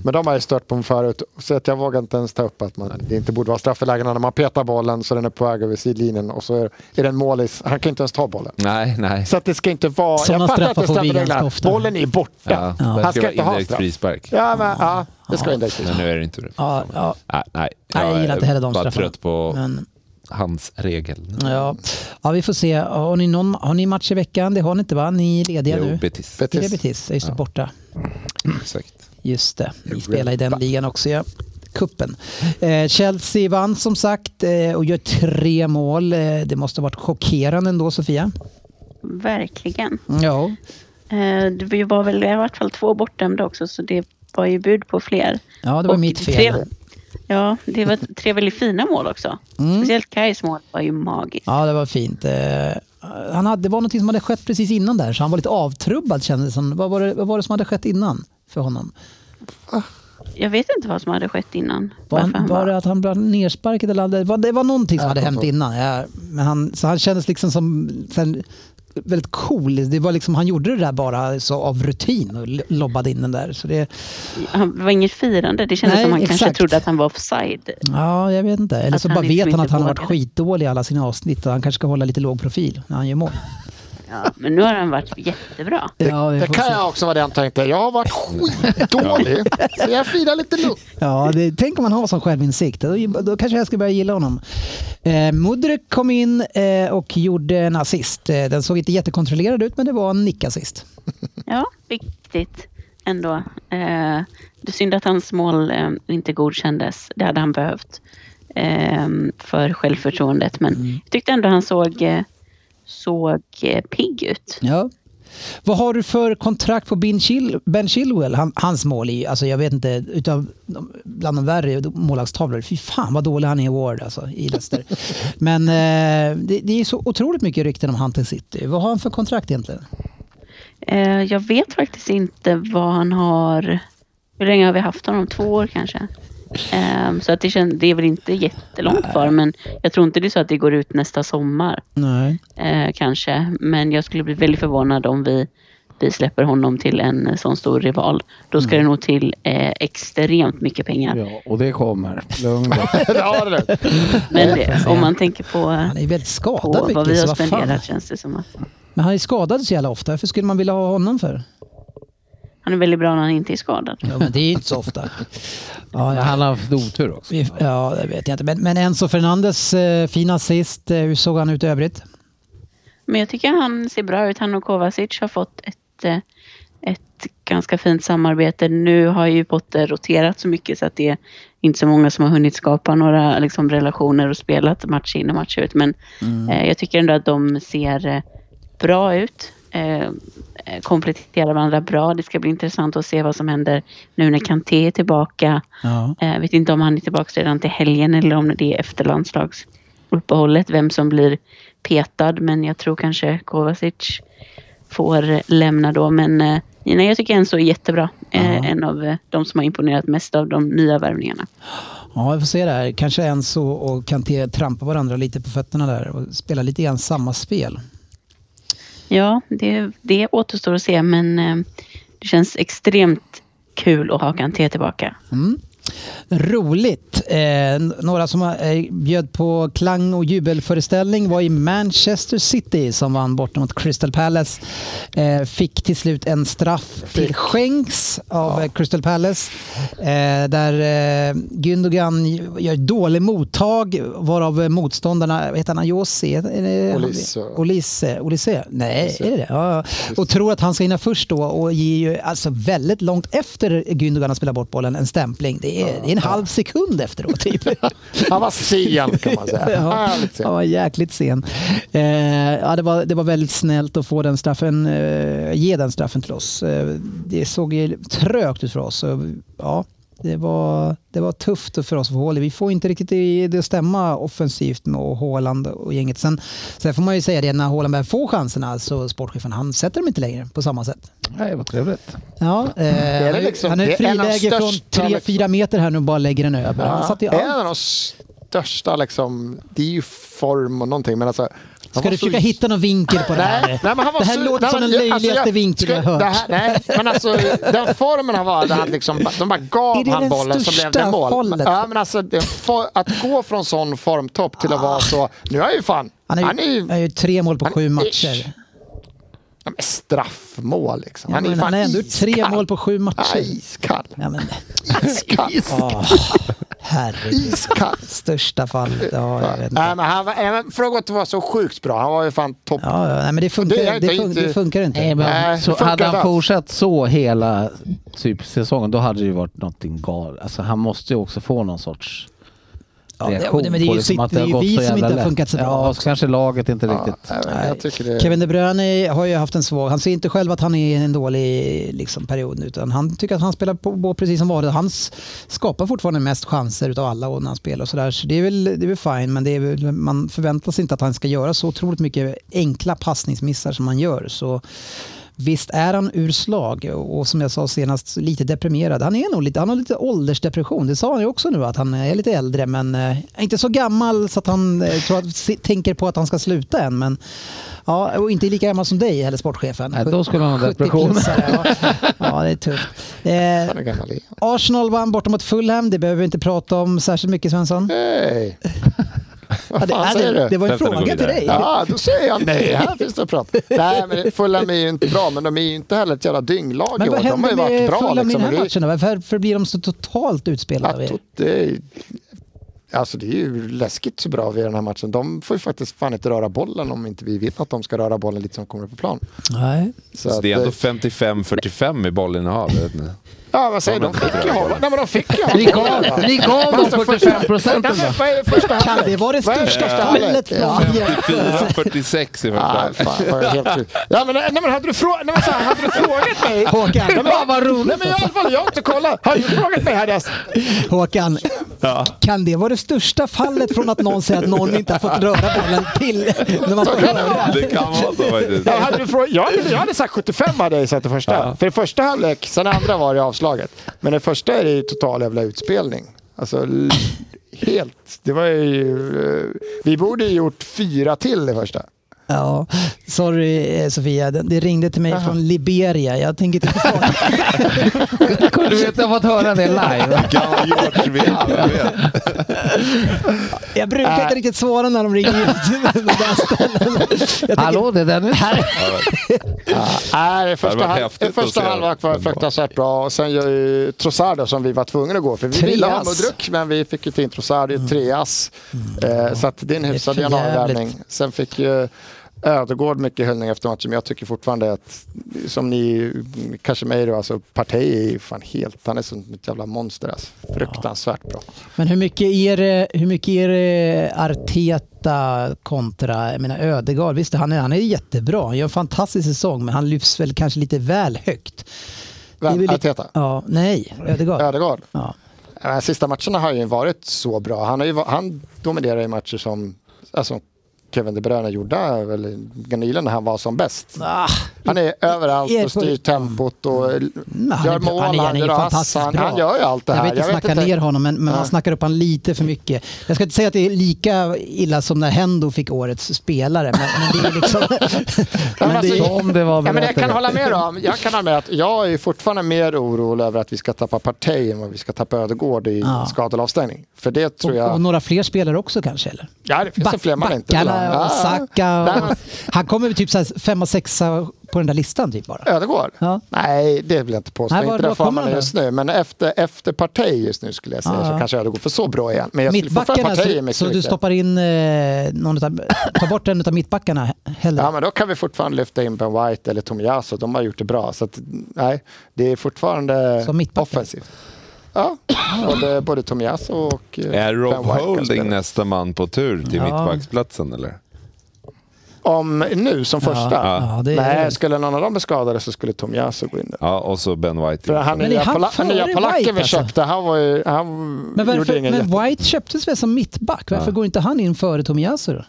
S6: Men de har jag stört på förut, så att jag vågar inte ens ta upp att man, det inte borde vara straff för lägena när man petar bollen så den är på väg över sidlinjen och så är, är det en målis, han kan inte ens ta bollen.
S5: Nej, nej.
S6: Så att det ska inte vara...
S3: Sådana
S6: jag fattar
S3: straffar
S6: att det
S3: får vi
S6: stämmer
S3: ganska
S6: reglerna.
S3: ofta.
S6: Bollen är borta.
S5: Ja, det
S6: Han
S5: ska
S6: ska
S5: vara
S6: inte ha
S5: indirekt
S6: straff.
S5: frispark.
S6: Ja, men, ja, det ska inte
S5: Men nu är det inte det.
S3: ja, ja.
S5: Nej, nej.
S3: Nej, jag gillar inte heller de
S5: Jag är bara
S3: straffarna.
S5: trött på
S3: Men-
S5: hans regel.
S3: Ja. ja, vi får se. Har ni, någon, har ni match i veckan? Det har ni inte va? Ni är lediga
S5: Jo,
S3: nu?
S5: Betis.
S3: Är det Betis? Ja, Just det, borta.
S5: Exakt.
S3: Just det. Ni spelar i den ligan också ja. Kuppen. Eh, Chelsea vann som sagt eh, och gör tre mål. Eh, det måste ha varit chockerande ändå Sofia?
S7: Verkligen.
S3: Ja.
S7: Eh, Det var väl i vart fall två bortdömda också, så det var ju bud på fler.
S3: Ja, det var
S7: Och
S3: mitt fel.
S7: Tre, ja, det var tre väldigt fina mål också.
S3: Mm.
S7: Speciellt Kais mål var ju magiskt.
S3: Ja, det var fint. Eh, han hade, det var något som hade skett precis innan där så han var lite avtrubbad kändes det som. Vad var det, vad var det som hade skett innan för honom?
S7: Jag vet inte vad som hade skett innan.
S3: Var,
S7: varför
S3: han, var det att han blev nersparkad eller hade, var, det var någonting som hade hänt innan. Ja, men han, så han kändes liksom som så här, väldigt cool. Det var liksom, han gjorde det där bara så av rutin och l- lobbade in den där. Så det,
S7: Han det var inget firande. Det kändes
S3: Nej,
S7: som han kanske
S3: exakt.
S7: trodde att han var offside.
S3: ja, jag vet inte. Eller
S7: Att
S3: så
S7: han
S3: bara
S7: liksom
S3: vet han
S7: inte
S3: att han har varit
S7: vågar.
S3: skitdålig i alla sina avsnitt och han kanske ska hålla lite låg profil när han gör mål.
S7: Ja, men nu har han varit jättebra.
S3: Ja, vi
S6: Det
S3: får
S6: kan
S3: se.
S6: jag också vara det han tänkte. Jag har varit skitdålig, så jag firar lite lugnt.
S3: Ja, det, tänk om man har sån självinsikt. Då, då kanske jag ska börja gilla honom. Eh, Mudryk kom in eh, och gjorde en assist. Eh, den såg inte jättekontrollerad ut, men det var en nickassist.
S7: Ja, viktigt ändå. Eh, det är synd att hans mål eh, inte godkändes. Det hade han behövt eh, för självförtroendet. Men jag tyckte ändå han såg, eh, såg eh, pigg ut.
S3: Ja. Vad har du för kontrakt på Ben, Chil- ben Chilwell? Han, hans mål är ju, alltså jag vet inte, utav, de- bland de värre målvaktstavlor. Fy fan vad dålig han är i Ward alltså, i Leicester. Men eh, det, det är så otroligt mycket rykten om Hunter City. Vad har han för kontrakt egentligen?
S7: Eh, jag vet faktiskt inte vad han har. Hur länge har vi haft honom? Två år kanske? Ehm, så att det, kän- det är väl inte jättelångt kvar, men jag tror inte det är så att det går ut nästa sommar
S3: Nej.
S7: eh, kanske. Men jag skulle bli väldigt förvånad om vi, vi släpper honom till en eh, sån stor rival. Då
S3: Mm.
S7: ska det nog till eh, extremt mycket pengar.
S4: Ja, och det kommer. Lugn då.
S6: ja, det där.
S7: Men det, om man tänker på,
S3: Han är ju väldigt skadad
S7: på
S3: mycket.
S7: vad vi
S3: så
S7: har
S3: fan.
S7: spenderat känns det som att
S3: Men han är skadad så jävla ofta. Varför skulle man vilja ha honom för?
S7: han är väldigt bra när han inte är skadad.
S3: Ja, men det är ju inte så ofta. Ja, ja.
S4: Han har haft otur också.
S3: Vi- Ja, det vet jag inte. Men, men Enzo Fernandes eh, fin assist. Eh, hur såg han ut i övrigt?
S7: Men jag tycker han ser bra ut. Han och Kovacic har fått ett, eh, ett ganska fint samarbete. Nu har ju Potter roterat så mycket så att det är inte så många som har hunnit skapa några liksom, relationer och spelat match in och match ut. Men eh, jag tycker ändå att de ser eh, bra ut. Eh, eh, kompletterar varandra bra. Det ska bli intressant att se vad som händer nu när Kanté är tillbaka.
S3: Ja.
S7: Jag vet inte om han är tillbaka redan till helgen eller om det är efter landslagsuppehållet, vem som blir petad. Men jag tror kanske Kovacic får lämna då. Men eh, nej, jag tycker Enzo är jättebra. Eh, En av eh, de som har imponerat mest av de nya värvningarna.
S3: ja, vi får se där. Kanske Enzo och Kanté trampar varandra lite på fötterna där och spelar lite grann samma spel.
S7: Ja, det, det återstår att se, men eh, det känns extremt kul att ha Kanté tillbaka.
S3: Roligt! Eh, n- några som eh, bjöd på klang och jubelföreställning var i Manchester City som vann borta mot Crystal Palace. Eh, fick till slut en straff till skänks av eh, Crystal Palace. Eh, där eh, Gündogan gör dålig mottag varav eh, motståndarna, vad heter han, Ayosi? Är det-
S6: Olise.
S3: Olise, Olise? Nej, är det det? Ja, ja. Och tror att han ska hinna först då och ger ju alltså väldigt långt efter Gündogan har spelat bort bollen en stämpling. Det är, det är en halv sekund efteråt typ.
S6: Han var sen kan man säga.
S3: Ja,
S6: Härligt sen.
S3: han var jäkligt sen. Eh, ja, det, var, det var väldigt snällt att få den straffen, eh, ge den straffen till oss. Eh, det såg ju trögt ut för oss. Så, ja, det, var, det var tufft för oss att få hål i. Vi får inte riktigt det, det att stämma offensivt med Haaland och gänget. Sen, sen får man ju säga det, när Haaland väl får chanserna så sportchefen, han sätter dem inte längre på samma sätt.
S4: Nej, vad trevligt.
S3: Ja, eh,
S6: är väl liksom-
S3: han är
S6: det är en av
S3: friläge
S6: största
S3: från
S6: liksom-
S3: 3-4 meter här nu och bara lägger den över. Han satte ju
S6: Det är
S3: allt
S6: en av de största, liksom, det är ju form och någonting. Men alltså, han
S3: Ska
S6: var
S3: du
S6: så-
S3: försöka hitta någon vinkel på det här?
S6: Nej, nej, men han var
S3: det här
S6: så,
S3: låter
S6: nej,
S3: som den
S6: men jag- alltså,
S3: löjligaste
S6: jag-
S3: vinkeln jag
S6: ska-
S3: har
S6: det
S3: hört.
S6: här- Nej, men alltså den formen han var, där han liksom, de bara
S3: Är
S6: gav
S3: det
S6: han
S3: den
S6: bollen som blev
S3: största
S6: det mål.
S3: fallet?
S6: Ja, men alltså, det, for, att gå från sån formtopp till att vara så, nu är jag ju fan,
S3: Han har ju, han har ju tre mål på
S6: han är
S3: sju
S6: ish.
S3: matcher.
S6: Ja, men straffmål liksom.
S3: Ja,
S6: Han är, ju
S3: men
S6: fan
S3: han har ändå
S6: iskall.
S3: tre mål på sju matcher.
S6: Ja, iskall.
S3: Ja, men,
S6: Iskall.
S3: oh, herregud.
S6: Iskall.
S3: Största fallet. Ja, jag vet inte.
S6: Nej, men han var, nej, men för att gå till att vara så sjukt bra, han var ju fan topp.
S3: Ja, ja, nej, men det funkar,
S6: Det är
S3: det, fun-
S6: inte-
S3: det funkar inte.
S4: Nej, men
S6: Nej,
S4: så
S6: det funkar
S4: hade han
S6: inte
S4: fortsatt så hela typ, säsongen, då hade det ju varit någonting galet. Alltså, han måste ju också få någon sorts
S3: det-
S4: reaktion
S3: men det är ju
S4: på
S3: sitt-
S4: som att
S3: det är ju
S4: har gått
S3: vi
S4: så
S3: som
S4: jävla
S3: inte har
S4: lätt.
S3: funkat så bra
S4: Ja,
S3: också.
S4: så kanske laget inte riktigt...
S6: Nej, men jag tycker det,
S3: Kevin De Bruyne har ju haft en svag, han ser inte själv att han är i en dålig liksom, period utan han tycker att han spelar på, på precis som vanligt. Han s- skapar fortfarande mest chanser utav alla och när han spelar och sådär. Så det är väl, det är väl fine men det är väl, man förväntar sig inte att han ska göra så otroligt mycket enkla passningsmissar som han gör. Så Visst är han ur slag och som jag sa senast lite deprimerad. Han, är nog lite, han har lite åldersdepression. Det sa han ju också nu att han är lite äldre men eh, inte så gammal så att han eh, tror att, se, tänker på att han ska sluta än. Men, ja, och inte lika gammal som dig eller sportchefen.
S4: Nej, då skulle han ha
S3: 70
S4: depression.
S3: plussare, Ja. ja, det är tufft. Eh,
S6: han är gammal igen.
S3: Arsenal vann borta mot Fulham. Det behöver vi inte prata om särskilt mycket Svensson.
S6: Nej. Vad fan
S3: Ja,
S6: säger
S3: det,
S6: du?
S3: det var en
S5: Svensson,
S3: fråga
S5: gå
S3: till
S5: vidare.
S3: dig.
S6: Ja, då säger jag nej. Här finns det prat. Nej, men Fulham är ju inte bra, men de är ju inte heller ett jävla dynglag i
S3: Men
S6: år.
S3: vad
S6: De har ju
S3: händer
S6: varit
S3: med
S6: bra.
S3: Fulham i den
S6: Liksom.
S3: här
S6: Det är-
S3: matchen? då? Varför, varför blir de så totalt utspelade? av
S6: Ja,
S3: er?
S6: tot- det är- Alltså det är ju läskigt så bra vi är i den här matchen. De får ju faktiskt fan inte röra bollen om inte vi vill att de ska röra bollen lite som kommer upp på plan.
S3: Nej.
S6: Så
S5: Så det är
S6: att,
S5: ändå
S6: eh,
S5: 55-45 i bollinnehav. jag vet inte.
S6: Ja, vad säger du? De fick ju hålla. Nej, men de fick ju hålla.
S4: Ni gav, ni gav dem 45
S6: Nej,
S4: procenten
S6: men vad är första
S3: Kan det vara det
S6: Vad är
S3: största
S6: första halvlek?
S3: fallet? Ja, jämfört-
S5: 44-46 i första.
S6: Ah, fan, vad är helt sjukt. ja, men, nej, men hade du, frå- nej, men, så här, hade du frågat mig?
S3: Håkan,
S6: Nej, men, vad roligt. Nej, men jag, allvarligt, jag har inte kollat. Hade du frågat mig hade jag... s-
S3: Håkan, kan det vara det största fallet från att någon säger att någon inte har fått röra bollen till när man får röra?
S5: Det kan vara så faktiskt.
S6: Nej, hade du frågat, jag, hade, jag hade sagt 75 hade jag sagt det första. För det första halvlek, sen det andra var det avslaget. Men det första är det ju total jävla utspelning. Alltså l- helt. Det var ju... eh, Vi borde ju gjort fyra till det första.
S3: Ja, sorry eh, Sofia, det, det ringde till mig från Liberia. Jag tänker inte försvara.
S4: Kunde vi inte ha fått höra det live?
S5: Gamla George Weah, jag vet.
S3: Jag brukar inte riktigt svara när de ringer ut. De där ställena. Jag tänker,
S4: Hallå, det är Dennis.
S6: Nej,
S5: Det
S6: första,
S5: hade varit
S6: hal-
S5: häftigt att
S6: första
S5: se
S6: halvlek var
S5: den.
S6: fruktansvärt bra och sen gör ju Trossard då, som vi var tvungna att gå för. Vi ville ha
S3: Treas. Mm.
S6: Mudryk men vi fick ju till in Trossard i treas. Eh, så att det är en hyfsad
S3: för jävligt.
S6: januarivärvning. Sen fick ju Ödegård mycket hyllning efter matchen men jag tycker fortfarande att, som ni, kanske mig då, alltså Partey är ju fan helt, han är som ett jävla monster alltså. Fruktansvärt bra.
S3: men hur mycket är det, hur mycket är det Arteta kontra jag menar, Ödegaard? Visst, han är, han är jättebra. Han gör en fantastisk säsong, men han lyfts väl kanske lite väl högt. Det är väl
S6: Vem,
S3: lite-
S6: Arteta?
S3: Ja, nej, Ödegaard.
S6: Ödegård?
S3: Ja.
S6: De här sista matcherna har ju varit så bra. Han, har ju, va- han dominerar i matcher som alltså, Kevin De Bruyne gjorde eller nyligen när han var som bäst.
S3: Ah,
S6: Han är överallt
S3: är-
S6: och styr tempot och l-
S3: Mm. han är
S6: gör
S3: bra.
S6: mål,
S3: Han är-
S6: han,
S3: han är
S6: gör ass,
S3: fantastiskt
S6: han,
S3: bra.
S6: han gör ju allt det
S3: jag
S6: här.
S3: vill inte snacka ner honom, men, men man
S6: Nej.
S3: snackar upp han lite för mycket. Jag ska inte säga att det är lika illa som när Hendo fick årets spelare, men, men det är liksom...
S6: men
S3: men det
S6: alltså,
S3: är,
S4: Om det var
S6: Ja, men jag
S4: berättat.
S6: kan hålla med om. Jag kan hålla med att jag är fortfarande mer orolig över att vi ska tappa Partey än vad vi ska tappa Ödegård i
S3: Ja.
S6: skada eller avstängning. För det tror jag...
S3: och, och några fler spelare också kanske? Eller?
S6: ja, det finns
S3: Back-
S6: ju fler man inte vill ha.
S3: Backarna och
S6: Ja.
S3: Saka.
S6: Nej,
S3: Och,
S6: men-
S3: han kommer typ så här femma, sexa på den där listan typ bara.
S6: Ödegård?
S3: Ja.
S6: Nej, det vill jag inte påstå.
S3: Nej, var-
S6: inte den
S3: var kommer
S6: formen
S3: den
S6: just nu. Men efter, efter Partey just nu skulle jag säga
S3: Ja,
S6: så
S3: ja.
S6: kanske Ödegård. För så bra är han. Men jag skulle fortfarande
S3: Mittbackarna,
S6: Partey är
S3: så,
S6: mycket
S3: så du
S6: viktigare.
S3: stoppar in eh, någon utav, ta bort en av mittbackarna hellre?
S6: Ja, men då kan vi fortfarande lyfta in Ben White eller Tomiyasu. De har gjort det bra. Så att, nej, det är fortfarande
S3: Som mittbackar.
S6: offensivt. Ja, både, både Tomiyasu och eh,
S5: Är
S6: Ben
S5: Rob
S6: White kan spela.
S5: Holding nästa man på tur till
S3: Ja.
S5: mittbacksplatsen eller?
S6: Om nu som första?
S3: Ja. Ja, det är det
S6: nej,
S3: väl.
S6: skulle någon av dem bli skadade så skulle Tomiyasu gå in där.
S5: Ja, och så Ben White.
S6: För han
S3: Men är
S6: nya,
S3: han
S6: pola-
S3: före
S6: nya
S3: White,
S6: polacken vi
S3: alltså?
S6: köpte, han, var ju, han
S3: Men,
S6: gjorde
S3: varför,
S6: ingen jätte-
S3: men White köptes väl som mittback? Varför går inte han in före Tomiyasu då?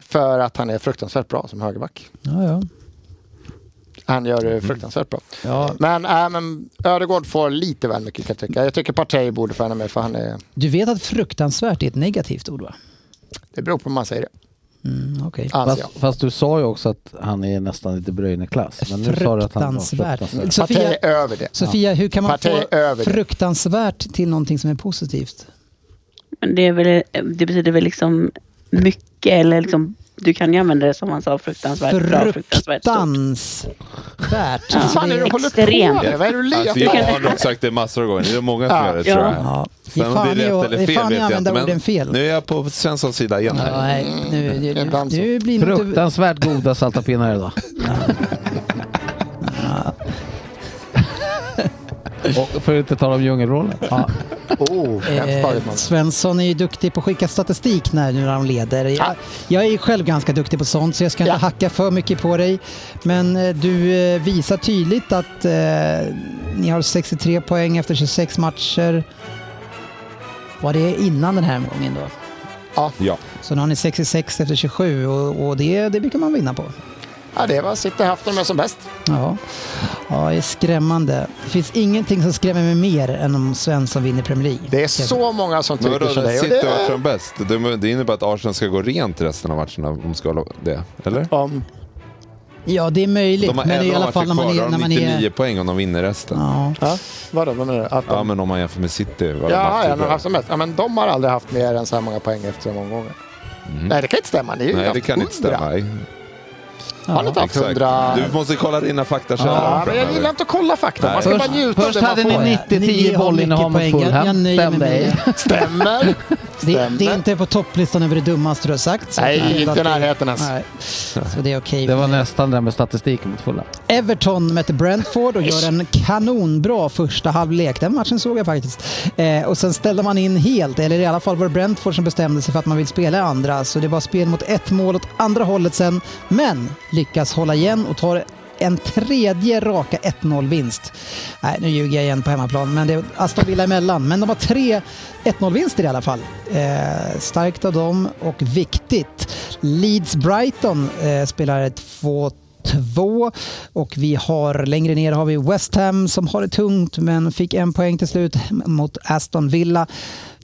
S6: För att han är fruktansvärt bra som högerback.
S3: Ja, ja.
S6: Han gör det fruktansvärt bra. Men, äh, men Ödegård får lite väl mycket kan jag tycka. Jag tycker Partey borde få ännu mer för han är...
S3: Du vet att fruktansvärt är ett negativt ord va?
S6: Det beror på hur man säger det,
S3: Mm, okej.
S6: anser jag.
S4: Fast, fast du sa ju också att han är nästan lite Bruyne-klass. Men nu sa du att han var fruktansvärd.
S3: Fruktansvärt.
S6: Partey
S3: Sofia,
S6: är över det.
S3: Sofia, hur kan man
S6: Partey
S3: få
S6: är över det.
S3: fruktansvärt till någonting som är positivt?
S7: Men det, är väl, det betyder väl liksom mycket eller liksom, du kan ju använda det som han sa fruktansvärt bra, fruktansvärt stort.
S3: Fruktansvärt.
S7: Ja.
S6: Vad fan är det du håller
S7: Extremt.
S6: på med? Vad är det du letar
S5: Alltså,
S6: efter?
S5: jag har nog sagt det massor av gånger. Det är många som
S6: Ja.
S5: gör det tror jag.
S3: Ja. Det är
S5: Sen om
S3: fan
S5: det är
S3: jag-
S5: rätt
S3: det är
S5: eller fel
S3: fan
S5: vet
S3: jag
S5: jag inte.
S3: använder orden
S5: Men
S3: fel.
S5: nu är jag på Svenssons sida igen
S3: Ja,
S5: här.
S3: Nej, nu, nu,
S6: Ibland så.
S3: nu blir det inte...
S4: Fruktansvärt goda salta pinnar idag. Och för att inte tala om djungelrollen.
S3: Ja,
S6: Oh, hemskt taget man.
S3: eh, Svensson är ju duktig på att skicka statistik när, nu när han leder. Jag, jag är ju själv ganska duktig på sånt så jag ska inte
S6: Ja.
S3: hacka för mycket på dig. Men eh, du eh, visar tydligt att eh, ni har 63 poäng efter 26 matcher. Var det innan den här omgången då?
S5: Ja.
S3: Så nu har ni 66 efter 27 och, och det, det brukar man vinna på.
S6: Ja, det var City haft dem är som bäst.
S3: Ja. ja, det är skrämmande. Det finns ingenting som skrämmer mig mer än om Svensson vinner Premier League.
S6: Det är så många som
S5: Men vadå,
S6: tycker så dig. och
S5: City har varit
S6: det-
S5: som bäst. Det det innebär att Arsenal ska gå rent resten av matcherna om de ska hålla det. Eller?
S6: Om,
S3: Ja, det är möjligt.
S5: De har
S3: men i
S5: elva
S3: alla fall när
S5: matcher
S3: man
S5: kvar.
S3: är...
S5: Då
S3: När
S5: har de
S3: man är
S5: 99 poäng om de vinner resten.
S3: ja.
S6: ja, vadå, vad menar du? Att de,
S5: Ja, men om man jämför med City. Vad de
S6: ja,
S5: haft
S6: ja, de har
S5: tidigare.
S6: haft som bäst. Ja, men de har aldrig haft mer än så här många poäng efter en omgång. Nej, det kan inte stämma. Ni har ju
S5: Nej,
S6: haft
S5: det kan inte
S6: 100.
S5: stämma. Nej.
S6: Har ni inte haft
S5: Exakt.
S6: 100?
S5: Du måste kolla dina faktakällor.
S6: Ja, men jag
S5: framöver.
S6: gillar inte att kolla fakta. Man ska
S4: Först-
S6: bara njuta
S4: först
S6: av det
S4: hade
S6: man
S4: ni
S6: får.
S4: ni- 90-10
S3: Ni har
S4: bollinnehav
S3: mycket
S4: mot
S3: poäng.
S4: Fulham.
S3: Jag nöjer mig
S4: Stäm
S3: med
S4: dig.
S3: det.
S6: Stämmer.
S3: Det, det är
S6: Stämmer.
S3: inte på topplistan över det dummaste du har sagt. så
S6: Nej,
S3: jag tror
S6: inte
S3: att
S6: i
S3: det-
S6: närheten ens.
S3: Nej. Så det är okej.
S4: Det var nästan det med statistiken mot fulla.
S3: Everton möter Brentford och gör en kanonbra första halvlek. Den matchen såg jag faktiskt. Eh, och sen ställde man in helt, eller i alla fall var det Brentford som bestämde sig för att man vill spela i andra. Så det var spel mot ett mål åt andra hållet sen, men lyckas hålla igen och tar en tredje raka 1-0-vinst. Nej, nu ljuger jag igen på hemmaplan, men det är Aston Villa emellan. Men de har tre 1-0-vinster i alla fall. Eh, starkt av dem och viktigt. Leeds-Brighton eh, spelar 2 två. Och vi har längre ner har vi West Ham som har det tungt men fick en poäng till slut mot Aston Villa.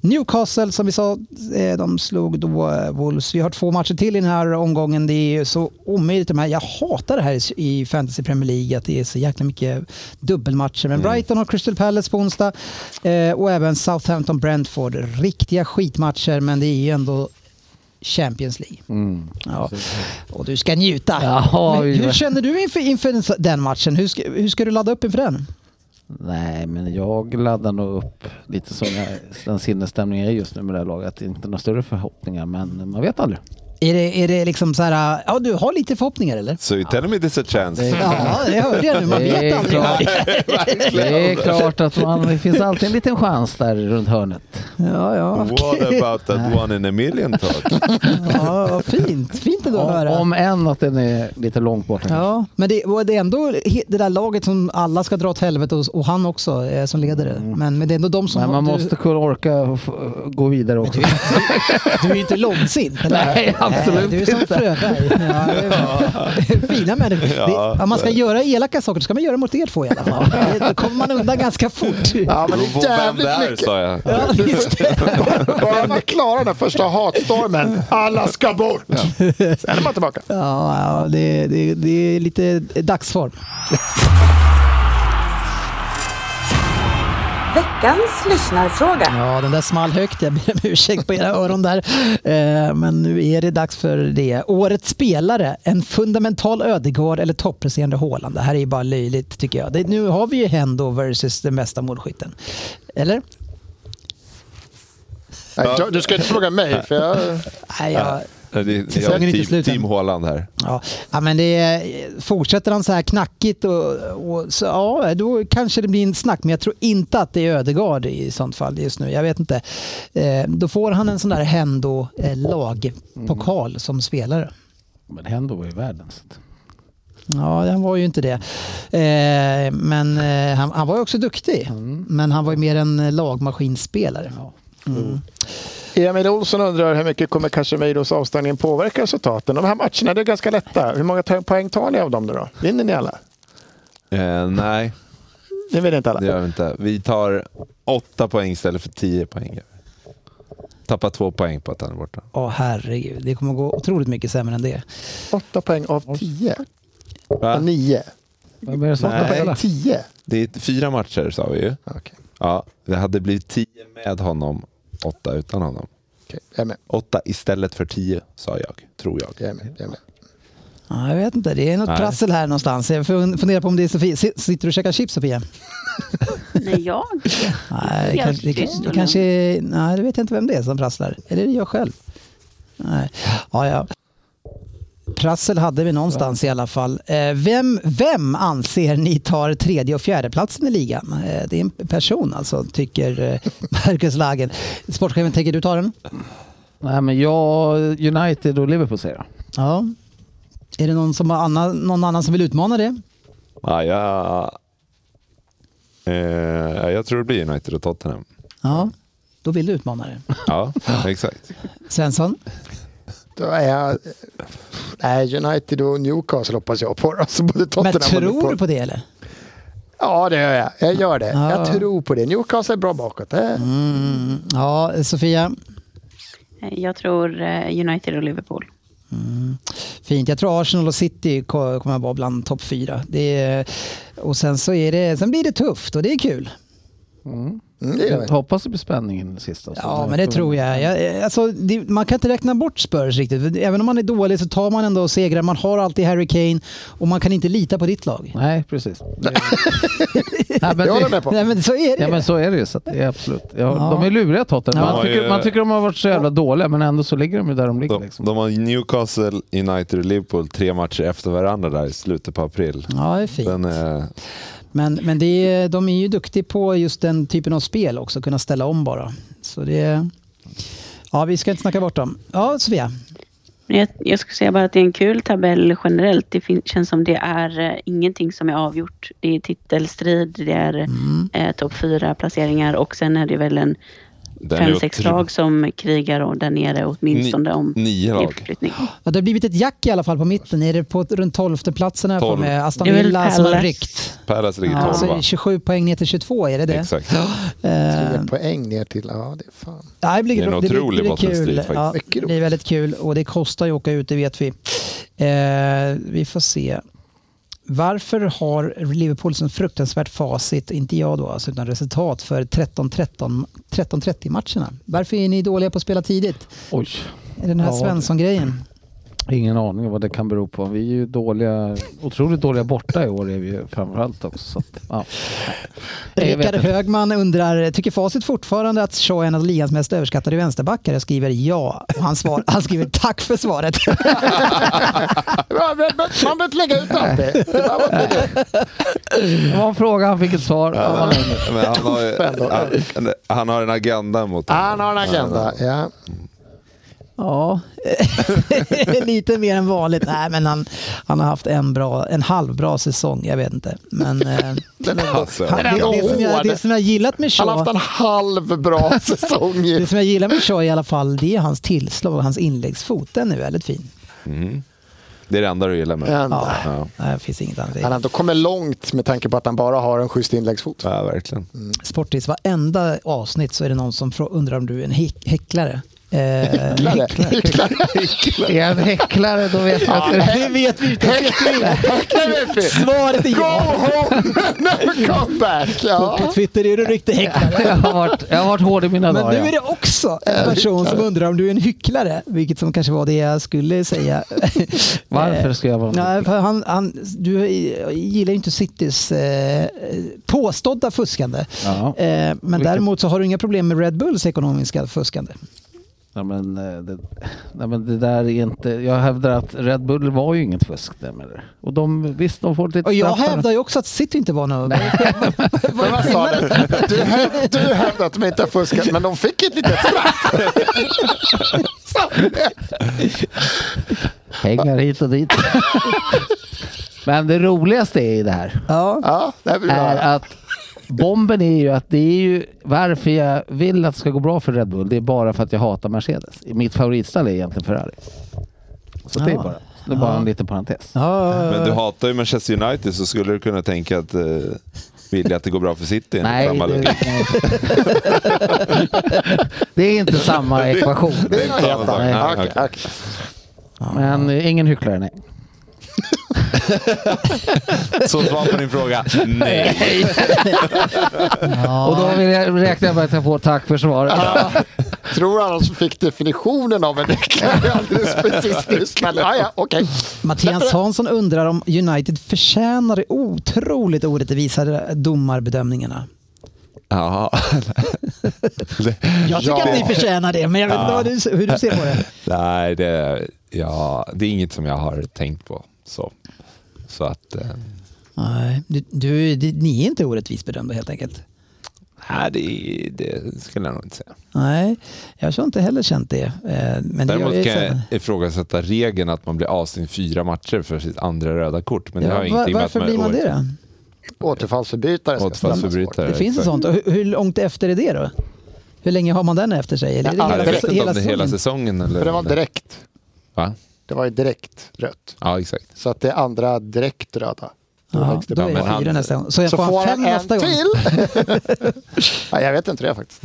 S3: Newcastle som vi sa, eh, de slog då eh, Wolves. Vi har två matcher till i den här omgången. Det är ju så omöjligt. de här- Jag hatar det här i- i Fantasy Premier League, att det är så jäkla mycket dubbelmatcher. Men Brighton har Crystal Palace på onsdag eh, och även Southampton-Brentford. Riktiga skitmatcher, men det är ju ändå Champions League.
S4: Mm.
S3: Ja. Och du ska njuta.
S4: Jaha,
S3: Men
S4: vi-
S3: hur känner du inför, inför den- den matchen? Hur ska, hur ska du ladda upp inför den?
S4: Nej, men jag laddar nog upp lite som jag, den sinnesstämningen är just nu med det här laget. Inte några större förhoppningar, men man vet aldrig.
S3: Är det, är det liksom så här, ja du har lite förhoppningar eller?
S5: So you tell me this a chance.
S3: Ja, det hörde jag nu. Man
S4: Det är
S3: vet aldrig.
S4: klart. Det är klart att man, det finns alltid en liten chans där runt hörnet.
S3: Ja, ja.
S5: What about that one in a million talk?
S3: ja vad fint. Fint ändå att
S4: Om,
S3: höra.
S4: om än att den är lite långt borta.
S3: Ja, men det, och det är ändå he- det där laget som alla ska dra åt helvete och, och han också eh, som ledare. Men, men det är ändå de som...
S4: Mm. Men man
S3: du,
S4: måste kunna orka och f- gå vidare också.
S3: du är ju inte långsint. eller?
S4: Nej, absolut
S3: Du är som
S4: inte.
S3: Fröberg. Ja, det är- Fina människor.
S5: Ja.
S3: Det, om man ska göra elaka saker ska man göra mot er två i alla fall. Det- Då kommer man undan ganska fort.
S6: Ja, men det
S5: Vem
S6: är jävligt
S5: där,
S6: mycket.
S5: sa jag.
S3: Ja, just det.
S6: Bara man klarar den första hatstormen, alla ska bort! Sen är man tillbaka.
S3: Ja, ja, det, det, det är lite dagsform.
S8: Veckans lyssnarfråga.
S3: Ja, den där small högt. Jag ber om ursäkt på era öron där. Eh, Men nu är det dags för det. Årets spelare, en fundamental Ödegård eller toppresterande Haaland. Det här är ju bara löjligt tycker jag. Det, nu har vi ju Hendo versus den bästa målskytten. Eller?
S6: Nej, du- Du ska inte fråga mig, för jag...
S3: Nej, jag,
S5: Det- det- Jag
S3: Säsongen är inte
S5: är team,
S3: slut än.
S5: team Haaland här.
S3: ja. ja, men det är, fortsätter han så här knackigt och, och så, ja, då kanske det blir en snack. Men jag tror inte att det är Ödegård i sånt fall just nu. Jag vet inte. Eh, Då får han en sån där Hendo-lagpokal som spelare.
S4: Men Hendo var ju världens. så att-
S3: Ja, han var ju inte det. Eh, men eh, han, han var ju också duktig. Men han var ju mer en eh, lagmaskinspelare.
S6: Emil Olsson undrar hur mycket kommer Casemiros avstängning påverka resultaten? De här matcherna det är ganska lätta. Hur många ta- poäng tar ni av dem nu då? Vinner ni alla?
S5: Eh, nej,
S6: Ni vinner inte alla?
S5: det gör vi inte. Vi tar åtta poäng istället för tio poäng. Tappar två poäng på att han är borta.
S3: Åh herregud, det kommer gå otroligt mycket sämre än det.
S6: Åtta poäng av tio?
S5: Va?
S6: Av nio?
S4: Vad är det som
S5: Nej.
S6: Åtta poäng av tio?
S5: Det är fyra matcher sa vi ju.
S6: Okej,
S5: Ja, det hade blivit tio med honom, åtta utan honom.
S6: okej. jag är med.
S5: Åtta istället för tio sa jag, tror jag.
S6: Jag är med. Jag är med.
S3: Ja, jag vet inte, det är något
S5: Nej.
S3: prassel här någonstans. Jag fun- funderar på om det är Sofia. Si- Sitter du och käkar chips Sofia?
S7: Nej, jag?
S3: Nej, det
S7: Helt
S3: kanske, det,
S7: tyst
S3: kanske- det
S7: och
S3: kanske är, Nej, det vet jag inte vem det är som prasslar. Eller är det jag själv? Nej, ja, ja. Prassel hade vi någonstans i alla fall. Eh, Vem, vem anser ni tar tredje och fjärde platsen i ligan? Eh, Det är en person alltså, tycker eh, Marcus Lagen. Sportchefen, tänker du ta den?
S4: Nej, men jag, United och Liverpool säger jag.
S3: Ja. Är det någon, som har annan, någon annan som vill utmana det?
S5: Ah, Ja, jag, eh, jag tror det blir United och Tottenham.
S3: Ja, då vill du utmana det.
S5: Ja, exakt.
S3: Svensson?
S6: Då är jag... Nej, United och Newcastle hoppas jag på. Alltså både Tottenham
S3: Men
S6: och
S3: tror
S6: Liverpool.
S3: du på det eller?
S6: Ja, det gör jag. Jag gör det.
S3: Ja. Mm.
S6: Jag tror på det. Newcastle är bra bakåt. Det-
S3: Ja, Sofia?
S7: Jag tror eh, United och Liverpool.
S3: Mm. Fint. Jag tror Arsenal och City ko- kommer att vara bland topp fyra. Det är, och sen, så är det, sen blir det tufft och det är kul.
S6: Mm, det gillar
S4: Jag
S6: vi.
S4: hoppas det blir spänning i den sista.
S3: Ja, men det tror jag. jag alltså, det, man kan inte räkna bort Spurs riktigt. För Även om man är dålig så tar man ändå segrar. Man har alltid Harry Kane och man kan inte lita på ditt lag.
S4: Nej, precis. Det- Nej, men
S6: Det håller
S4: det-
S6: jag med på.
S3: Nej, men så är det
S4: Ja
S3: ju.
S4: men så är det ju, så att det är absolut. Ja, De är luriga Tottenham.
S5: Ja,
S4: Man, tycker,
S5: ja.
S4: man tycker de har varit så jävla dåliga men ändå så ligger de ju där de ligger.
S5: De,
S4: Liksom.
S5: de har Newcastle, United och Liverpool tre matcher efter varandra där i slutet på april.
S3: Ja, det är fint.
S5: Den eh, är,
S3: Men, men det är, de är ju duktiga på just den typen av spel också, kunna ställa om bara. Så det är, Ja, vi ska inte snacka bort dem. Ja, Sofia.
S7: Jag, jag skulle säga bara att det är en kul tabell generellt. Det fin- känns som det är eh, ingenting som är avgjort. Det är titelstrid, det är eh, topp fyra placeringar och sen är det väl en
S5: den är
S7: fem, sex
S5: otro-
S7: lag som krigar och där nere åtminstone om
S5: Ni- nio lag.
S7: nedflyttning.
S3: Ja, det har blivit ett jack i alla fall på mitten. Är det på runt 12 platsen här för
S5: Tolv.
S3: med Aston
S7: Det är väl
S3: Villa som har
S7: Palace.
S3: ryckt?
S5: Palace ligger
S3: Ja, så
S5: tolva.
S3: 27 poäng ner till 22, är det Eh, det?
S5: Exakt.
S6: Tre poäng ner till, ja det är fan.
S3: Ja, det, blir,
S5: Det är en
S3: bra- blir-
S5: otrolig
S3: blir
S5: bottenstrid
S3: kul.
S5: faktiskt.
S3: Ja,
S6: Mycket
S3: det
S6: roligt.
S3: blir väldigt kul och det kostar ju att åka ut, det vet vi. Eh, vi får se. Varför har Liverpool som fruktansvärt facit, inte jag då, alltså, utan resultat för 13-13 13-30 matcherna? Varför är ni dåliga på att spela tidigt?
S4: Oj,
S3: Är det den här
S4: Ja,
S3: Svensson-grejen?
S4: ingen aning om vad det kan bero på. Vi är ju dåliga, otroligt dåliga borta i år är vi ju framförallt också. Så att, ja. Jag vet
S3: Rickard
S4: inte.
S3: Högman undrar, tycker facit fortfarande att Shaw är en av ligans mest överskattade vänsterbackar? Jag skriver ja. Och Han, svar, han skriver tack för svaret.
S6: Man behöver inte lägga ut allt det. det bara var inte det.
S4: Det var en fråga, han fick ett svar. Ja, man-
S5: Men han, har, ju- han, han har en agenda mot
S6: Han har en agenda. Ja.
S3: Ja, lite mer än vanligt. Nej, men han, han har haft en, bra, en halvbra säsong, jag vet inte. Men, eh,
S5: Alltså,
S3: han, det, det, som jag, det som jag gillat med
S6: Han har haft
S3: Shaw,
S6: en halv bra säsong.
S3: det
S6: i-
S3: som jag gillar med Shaw i alla fall, det är hans tillslag och hans inläggsfot. Den är väldigt fin.
S5: Det är det enda du gillar med
S6: Men
S3: Ja.
S5: Ja.
S3: Nej, det finns inget annat.
S6: Han har ändå kommit långt med tanke på att han bara har en schysst inläggsfot.
S5: Ja, verkligen.
S3: Sportis, varenda avsnitt så är det någon som frå- undrar om du är en häck- häcklare. Eh,
S6: Hycklare. Hycklare.
S4: Är jag en häcklare då vet jag att
S3: det vet vi inte.
S6: Hycklare är fint.
S3: Svaret är
S6: Go
S3: ja.
S6: home, never come back. Ja.
S3: På Twitter är du riktigt häcklare.
S4: jag har varit, jag har varit hård i mina
S3: Men
S4: dagar.
S3: nu är det också en person som undrar om du är en hycklare, vilket som kanske var det jag skulle säga. Eh,
S4: Varför ska jag vara
S3: Nej, för han, han, du gillar ju inte Citys eh, påstådda fuskande.
S4: Ja.
S3: Eh, men
S4: Vilket-
S3: däremot så har du inga problem med Red Bulls ekonomiska fuskande.
S4: Nej men, eh, det, nej men det där är inte... Jag hävdar att Red Bull var ju inget fusk. Där med det. Och de, visst, de får lite
S3: Och jag
S4: straff här.
S3: hävdar ju också att City inte var någon...
S6: Men vad sa du? Du häv- Du hävdade att de inte har fuskat, men de fick ett litet straff.
S4: Pengar hit och dit. men det roligaste är i det här
S3: ja.
S6: Ja, det här blir
S4: är
S6: bra.
S4: att bomben är ju att det är ju varför jag vill att det ska gå bra för Red Bull. Det är bara för att jag hatar Mercedes. Mitt favoritstall är egentligen Ferrari. Så det är
S3: Ja.
S4: bara, det är bara en liten parentes.
S3: Ja,
S5: Men du hatar ju Manchester United så skulle du kunna tänka att eh, vilja att det går bra för City. enligt
S4: Nej,
S5: samma
S4: det,
S5: logik.
S4: det är inte samma ekvation.
S6: Det är något helt
S5: Nej,
S6: annat.
S5: okej.
S6: Okej, okej.
S4: Men eh, ingen hycklare, nej.
S5: Så svar på din fråga. Nej.
S4: Och då vill jag, räknar jag med att jag får tack för svaret.
S6: Tror han som fick definitionen av en hycklare alldeles precis nyss. Men ja, ja, okej.
S3: Mattias Hansson undrar om United förtjänar de otroligt orättvisa domarbedömningarna.
S5: Jaha.
S3: Jag tycker
S6: Ja.
S3: att ni förtjänar det, men jag vet inte vad du, hur du ser på det.
S5: Nej, det, ja, det är inget som jag har tänkt på. Så, så att... Eh,
S3: Nej, du, du, det- ni är inte orättvist bedömda helt enkelt.
S5: nej, det, det skulle jag nog inte säga.
S3: Nej, jag har inte heller känt det. eh, Men det gör
S5: Däremot
S3: jag
S5: kan jag
S3: sen.
S5: ifrågasätta regeln att man blir avstängd fyra matcher för sitt andra röda kort. Men det har
S3: Ja,
S5: ju
S3: var,
S5: ingenting med att
S3: varför blir man det då?
S6: Återfallsförbrytare ska straffas hårt.
S5: Återfallsförbrytare.
S3: Det finns ett
S5: exakt.
S3: sånt. Och Hur, hur långt efter är det då? Hur länge har man den efter sig? Eller är det
S6: Ja,
S5: Jag
S3: hela,
S5: vet
S3: säsong-
S5: inte om det är hela
S3: säsongen?
S5: säsongen. Eller
S6: För det var
S5: om det-
S6: direkt.
S5: Va?
S6: Det var ju direkt rött.
S5: Ja, exakt.
S6: Så att det är andra direkt röda.
S3: Ja,
S6: läggs det
S3: då
S6: på.
S3: är
S5: men
S3: det
S5: han-
S3: fyra nästa gång. Så jag
S6: Så
S3: får han fem
S6: en
S3: nästa gång.
S6: till. ja, jag vet inte det faktiskt.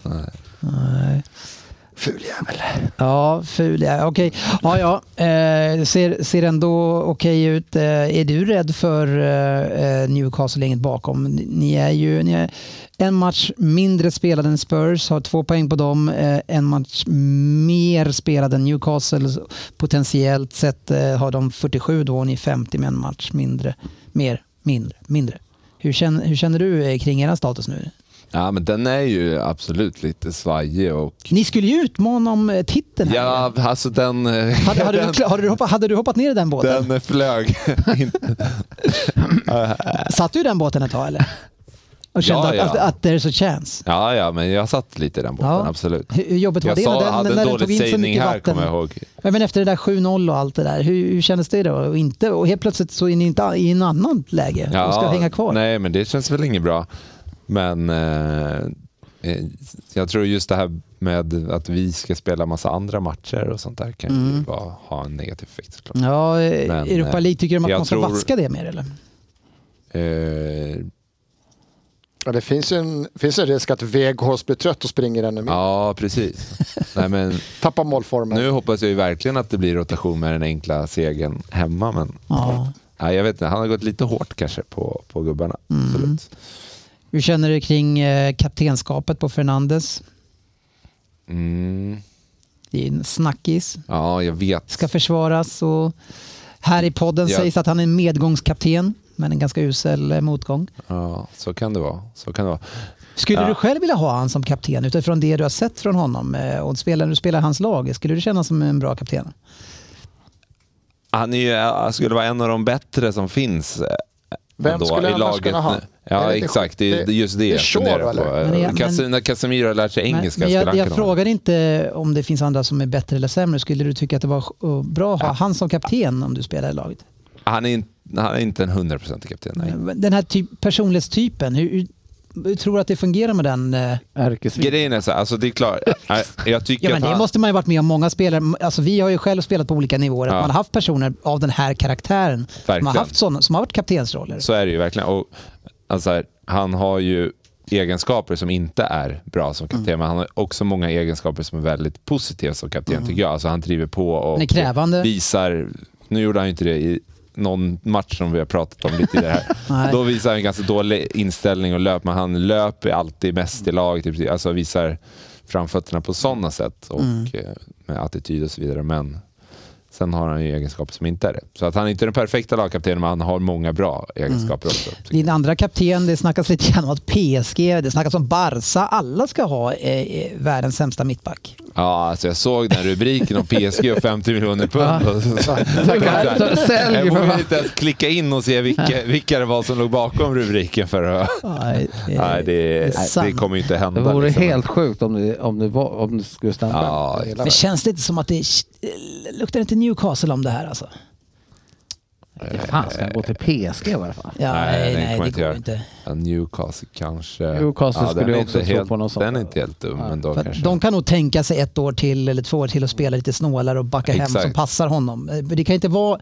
S6: Ful jävel.
S3: Ja, ful ja. Okej. Ja, ja. Eh, ser, ser ändå okej ut. Eh, är du rädd för eh, eh, Newcastle-gänget bakom? Ni är ju ni är en match mindre spelad än Spurs, har två poäng på dem. Eh, en match mer spelad än Newcastle. Potentiellt sett eh, har de 47 då och ni 50 med en match mindre. Mer, mindre, mindre. Hur känner, hur känner du eh, kring er status nu?
S5: Ja, men den är ju absolut lite svajig och...
S3: Ni skulle ju utmana om eh, titeln. här.
S5: Ja, alltså den... eh,
S3: Hade, hade,
S5: den,
S3: du, hade, du hoppat, hade du hoppat ner i den båten?
S5: den flög inte.
S3: Satt du i den båten ett tag eller? Och kände
S5: Ja, ja.
S3: Att, att, att there's a chance?
S5: Ja, ja, men jag satt lite i den båten,
S3: Ja.
S5: absolut.
S3: Hur, hur jobbigt var
S5: Jag
S3: det?
S5: sa,
S3: när den-
S5: hade
S3: när
S5: en
S3: den tog
S5: dålig
S3: in så
S5: sägning
S3: mycket
S5: här,
S3: vatten?
S5: kommer jag ihåg.
S3: Ja, Men efter det där 7-0 och allt det där, hur, hur kändes det då? Och, inte, och helt plötsligt så är ni inte i en annan läge och ska hänga kvar.
S5: Nej, men det känns väl inget bra. Men eh, eh, jag tror just det här med att vi ska spela massa andra matcher och sånt där kan
S3: Mm.
S5: ju bara ha en negativ effekt såklart.
S3: Ja, eh,
S5: Men,
S3: Europa
S5: eh,
S3: League, tycker de att
S5: jag
S3: man ska
S5: tror-
S3: vaska det mer eller?
S5: Eh,
S6: Ja, det finns ju en, finns en risk att Veghorst blir trött och springer ännu mer.
S5: ja, precis. Nej, men
S6: Tappar målformen.
S5: nu hoppas jag ju verkligen att det blir rotation med den enkla segern hemma, men
S3: Ja.
S5: ja, jag vet inte, han har gått lite hårt kanske på, på gubbarna.
S3: Mm.
S5: Absolut.
S3: Hur känner du kring eh, kaptenskapet på Fernandes?
S5: Mm.
S3: Det är en snackis.
S5: Ja, jag vet.
S3: Ska försvaras och här i podden
S5: Ja.
S3: sägs att han är en medgångskapten, men en ganska usel eh, motgång.
S5: Ja, så kan det vara. Så kan det vara.
S3: Skulle
S5: Ja.
S3: du själv vilja ha han som kapten utifrån det du har sett från honom eh, och spelar, du spelar hans lag? Skulle du känna som en bra kapten?
S5: Han är ju, han skulle vara en av de bättre som finns. eh,
S6: Vem
S5: ändå
S6: skulle
S5: i
S6: han annars
S5: laget
S6: kunna ha?
S5: nu.
S6: Är
S5: Ja,
S6: det inte-
S5: exakt. Det är
S6: det-
S5: just
S6: det
S5: det
S6: är
S5: jag funderar
S6: Shaw, eller?
S5: på.
S3: Men jag-
S5: Men, Cas- när Casemiro har lärt sig engelska
S3: men
S5: skulle
S3: jag
S5: han
S3: jag
S5: kunna vara-
S3: frågar inte om det finns andra som är bättre eller sämre. Skulle du tycka att det var eh, bra att ha han som kapten om du spelar i laget?
S5: han, är in, han är inte en 100% kapten. Nej.
S3: Den här typ, personlighetstypen, hur, hur, hur tror du att det fungerar med den? eh?
S4: Ärkesvin.
S5: Grejen är så här, alltså det är klart. eh, Jag tycker
S3: Ja, men
S5: att
S3: det
S5: han,
S3: måste man ju varit med om många spelare. Alltså, vi har ju själv spelat på olika nivåer. Att
S5: Ja.
S3: man har haft personer av den här karaktären som har,
S5: Verkligen.
S3: haft såna, som har varit kaptensroller.
S5: så är det ju verkligen. Och, alltså här, han har ju egenskaper som inte är bra som kapten,
S3: Mm.
S5: men han har också många egenskaper som är väldigt positiva som kapten tycker jag. Alltså han driver på och
S3: Han Mm. är krävande.
S5: visar, nu gjorde han ju inte det i någon match som vi har pratat om lite i det
S3: Nej.
S5: här. Då visar han ganska dålig inställning och löp, men han löper alltid mest i laget. Typ, alltså visar framfötterna på sådana sätt och
S3: Mm.
S5: eh, med attityd och så vidare. Men sen har han ju egenskaper som inte är det. Så att han är inte den perfekta lagkaptenen, men han har många bra egenskaper också. tycker
S3: Din andra kapten, det snackas lite grann om att PSG, det snackas om Barca, alla ska ha eh, eh, världens sämsta mittback.
S5: Ja, alltså jag såg den rubriken om PSG och 50 miljoner pund. Och så- så-
S4: Tackar. Sälj
S5: Jag
S4: för
S5: vågade
S4: fan.
S5: inte ens klicka in och se vilka, vilka det var som låg bakom rubriken för att...
S3: Nej, eh,
S5: Nej, det,
S3: sant.
S5: det kommer ju inte
S4: Det
S5: hända.
S4: vore
S5: liksom.
S4: helt sjukt om det, om det, var, om det skulle stämma.
S5: Ja,
S3: Men känns det inte som att det eh, luktar inte Newcastle om det här alltså?
S4: Inte fan ska han gå till PSG i alla fall?
S3: Ja, nej,
S5: den
S3: nej,
S5: kommer
S3: det
S5: inte
S3: går
S5: göra.
S3: inte.
S5: Ja, Newcastle kanske...
S4: Newcastle
S5: den
S4: skulle jag
S5: är
S4: också
S5: inte
S4: tro
S5: helt,
S4: på något sånt.
S5: Den är inte helt dum, men då
S3: För att
S5: kanske...
S3: de kan nog tänka sig ett år till eller två år till och spela lite snålare och backa hem
S5: Exakt.
S3: som passar honom. Eh, men Det kan inte vara...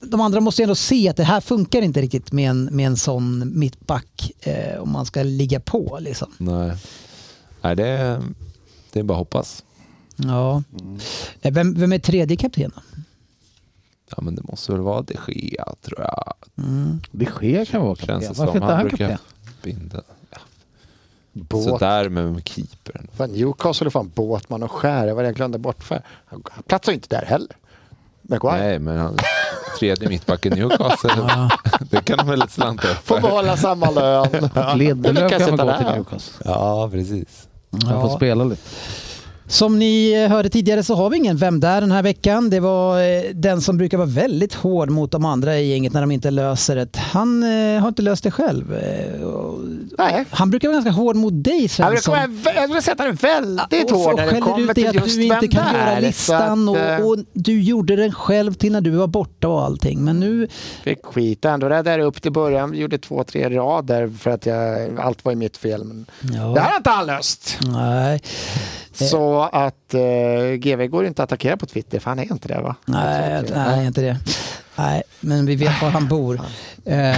S3: De andra måste ju ändå se att det här funkar inte riktigt med en, med en sån mittback eh, om man ska ligga på. Liksom.
S5: Nej, Nej det, är- det är bara att hoppas.
S3: Ja. Eh, Vem, vem är tredje kapten? då?
S5: Ja, men det måste väl vara det sker, tror jag.
S4: Det sker kan vara kapten.
S5: Känns det
S4: Varför
S5: som.
S4: inte han,
S5: brukar
S4: kapten?
S5: binda. Ja.
S6: Båt.
S5: Sådär med keepern.
S6: Fan, Newcastle är fan Båtman och Skär. Jag var det jag glömde bort. För. Han platsar ju inte där heller. Maguire.
S5: Nej, men han, tredje mittbacken i Newcastle. det kan de väl slanta upp
S6: Får
S5: för.
S6: behålla samma lön.
S4: Att
S6: Eller
S4: Lindelöf
S6: kan
S4: kan väl
S6: sitta
S4: gå
S6: där,
S4: till
S6: ja.
S4: Newcastle?
S5: Ja, precis.
S4: Han får spela lite.
S3: Som ni eh, hörde tidigare så har vi ingen Vem där den här veckan. Det var eh, den som brukar vara väldigt hård mot de andra i gänget när de inte löser det. Han eh, har inte löst det själv. Eh, och-
S6: Nej.
S3: Han brukar vara ganska hård mot dig
S6: Jag vill,
S3: Svensson.
S6: komma, jag vill sätta den väldigt
S3: Och- och
S6: hård när det
S3: skäller
S6: kommer
S3: ut dig
S6: till
S3: att
S6: just
S3: du inte
S6: vem
S3: kan
S6: det
S3: göra
S6: är.
S3: listan
S6: Så att, eh,
S3: och, och du gjorde den själv till när du var borta och allting. Men nu,
S6: Fick skit ändå. Det där upp till början. Vi gjorde två, tre rader för att jag, allt var ju mitt fel. Men
S3: Ja.
S6: Det här har inte han löst.
S3: nej,
S6: Så att eh, GV går inte att attackera på Twitter, för han är inte det va?
S4: Alltså,
S3: nej, nej, inte det. Nej, men vi vet var han bor. Eh,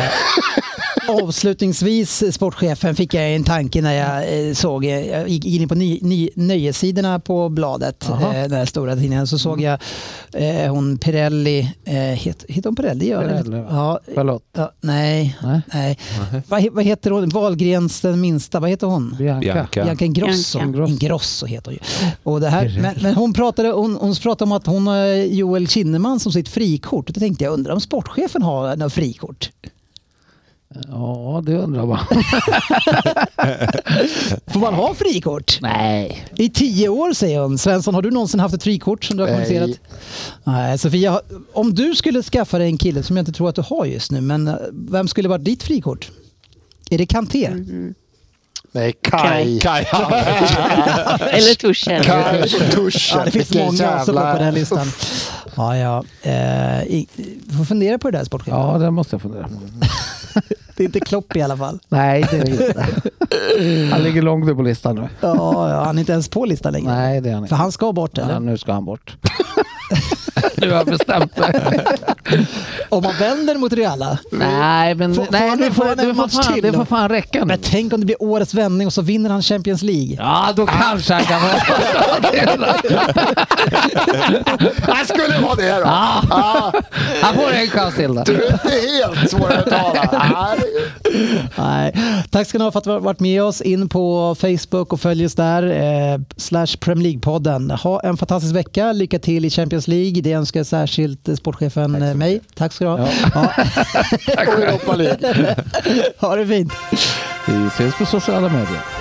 S3: Avslutningsvis, sportchefen, fick jag en tanke när jag eh, såg, eh, jag gick in på ny, ny, nöjesidorna på bladet, eh,
S4: Aha.
S3: den här stora tidningen, så såg jag eh, hon Pirelli, eh, het, heter hon Pirelli? Ja,
S4: Pirelli, va?
S3: ja,
S4: Charlotte.
S3: ja, nej,
S4: Nej.
S3: nej. Vad, he- vad heter hon, Wahlgrens den minsta, vad heter hon?
S4: Bianca.
S5: Bianca.
S3: Bianca Ingrosso.
S7: Bianca.
S3: Ingrosso. heter hon ju. Och det här, men, men hon pratade, hon, hon pratade om att hon har Joel Kinnaman som sitt frikort. Då tänkte jag, undrar om sportchefen har något frikort?
S4: Ja, det undrar man.
S3: Får man ha frikort?
S4: Nej.
S3: I tio år säger hon. Svensson, har du någonsin haft ett frikort som du har
S6: Nej.
S3: kommunicerat? Nej. Sofia, har- om du skulle skaffa dig en kille som jag inte tror att du har just nu, men eh, vem skulle vara ditt frikort? Är det Kanté?
S6: Nej, Kai.
S5: Kaj,
S7: Eller Torshäll.
S6: Kai och Tuschen.
S3: Ja, det finns
S6: Vilken
S3: många som
S6: jävla-
S3: är på den listan. Ja, ja. Eh, i- får fundera på det där sportchefen.
S4: Ja, det måste jag fundera på.
S3: Det är inte Klopp i alla fall.
S4: Nej, det är det inte. Han ligger långt ner på listan nu.
S3: Ja, ja, han är inte ens på listan längre.
S4: Nej, det är han
S3: För
S4: inte.
S3: han ska bort eller?
S4: Ja, nu ska han bort. nu har jag bestämt det.
S3: Om man vänder mot Reala.
S4: Nej, men
S3: Får- får
S4: nej,
S3: han-
S4: det,
S3: får
S4: får,
S3: han en
S4: det, får
S3: match
S4: fan,
S3: till
S4: det
S3: då?
S4: får fan räcka nu.
S3: Men tänk om det blir årets vändning och så vinner han Champions League.
S4: Mm. Ja, då kanske han kan vara
S6: Han skulle vara det då.
S4: Ja.
S6: Ah,
S4: Han får en chans till då.
S6: du är inte helt svårövertalad. Ah, det är-
S3: Nej. Tack ska ni ha för att ni har varit med oss. In på Facebook och följ oss där. Eh, slash Premier League-podden. Ha en fantastisk vecka. Lycka till i Champions League. Det önskar särskilt eh, sportchefen eh, mig. Tack ska du ha. Ja.
S6: Och Europa League.
S3: ha det fint.
S4: Vi ses på sociala medier.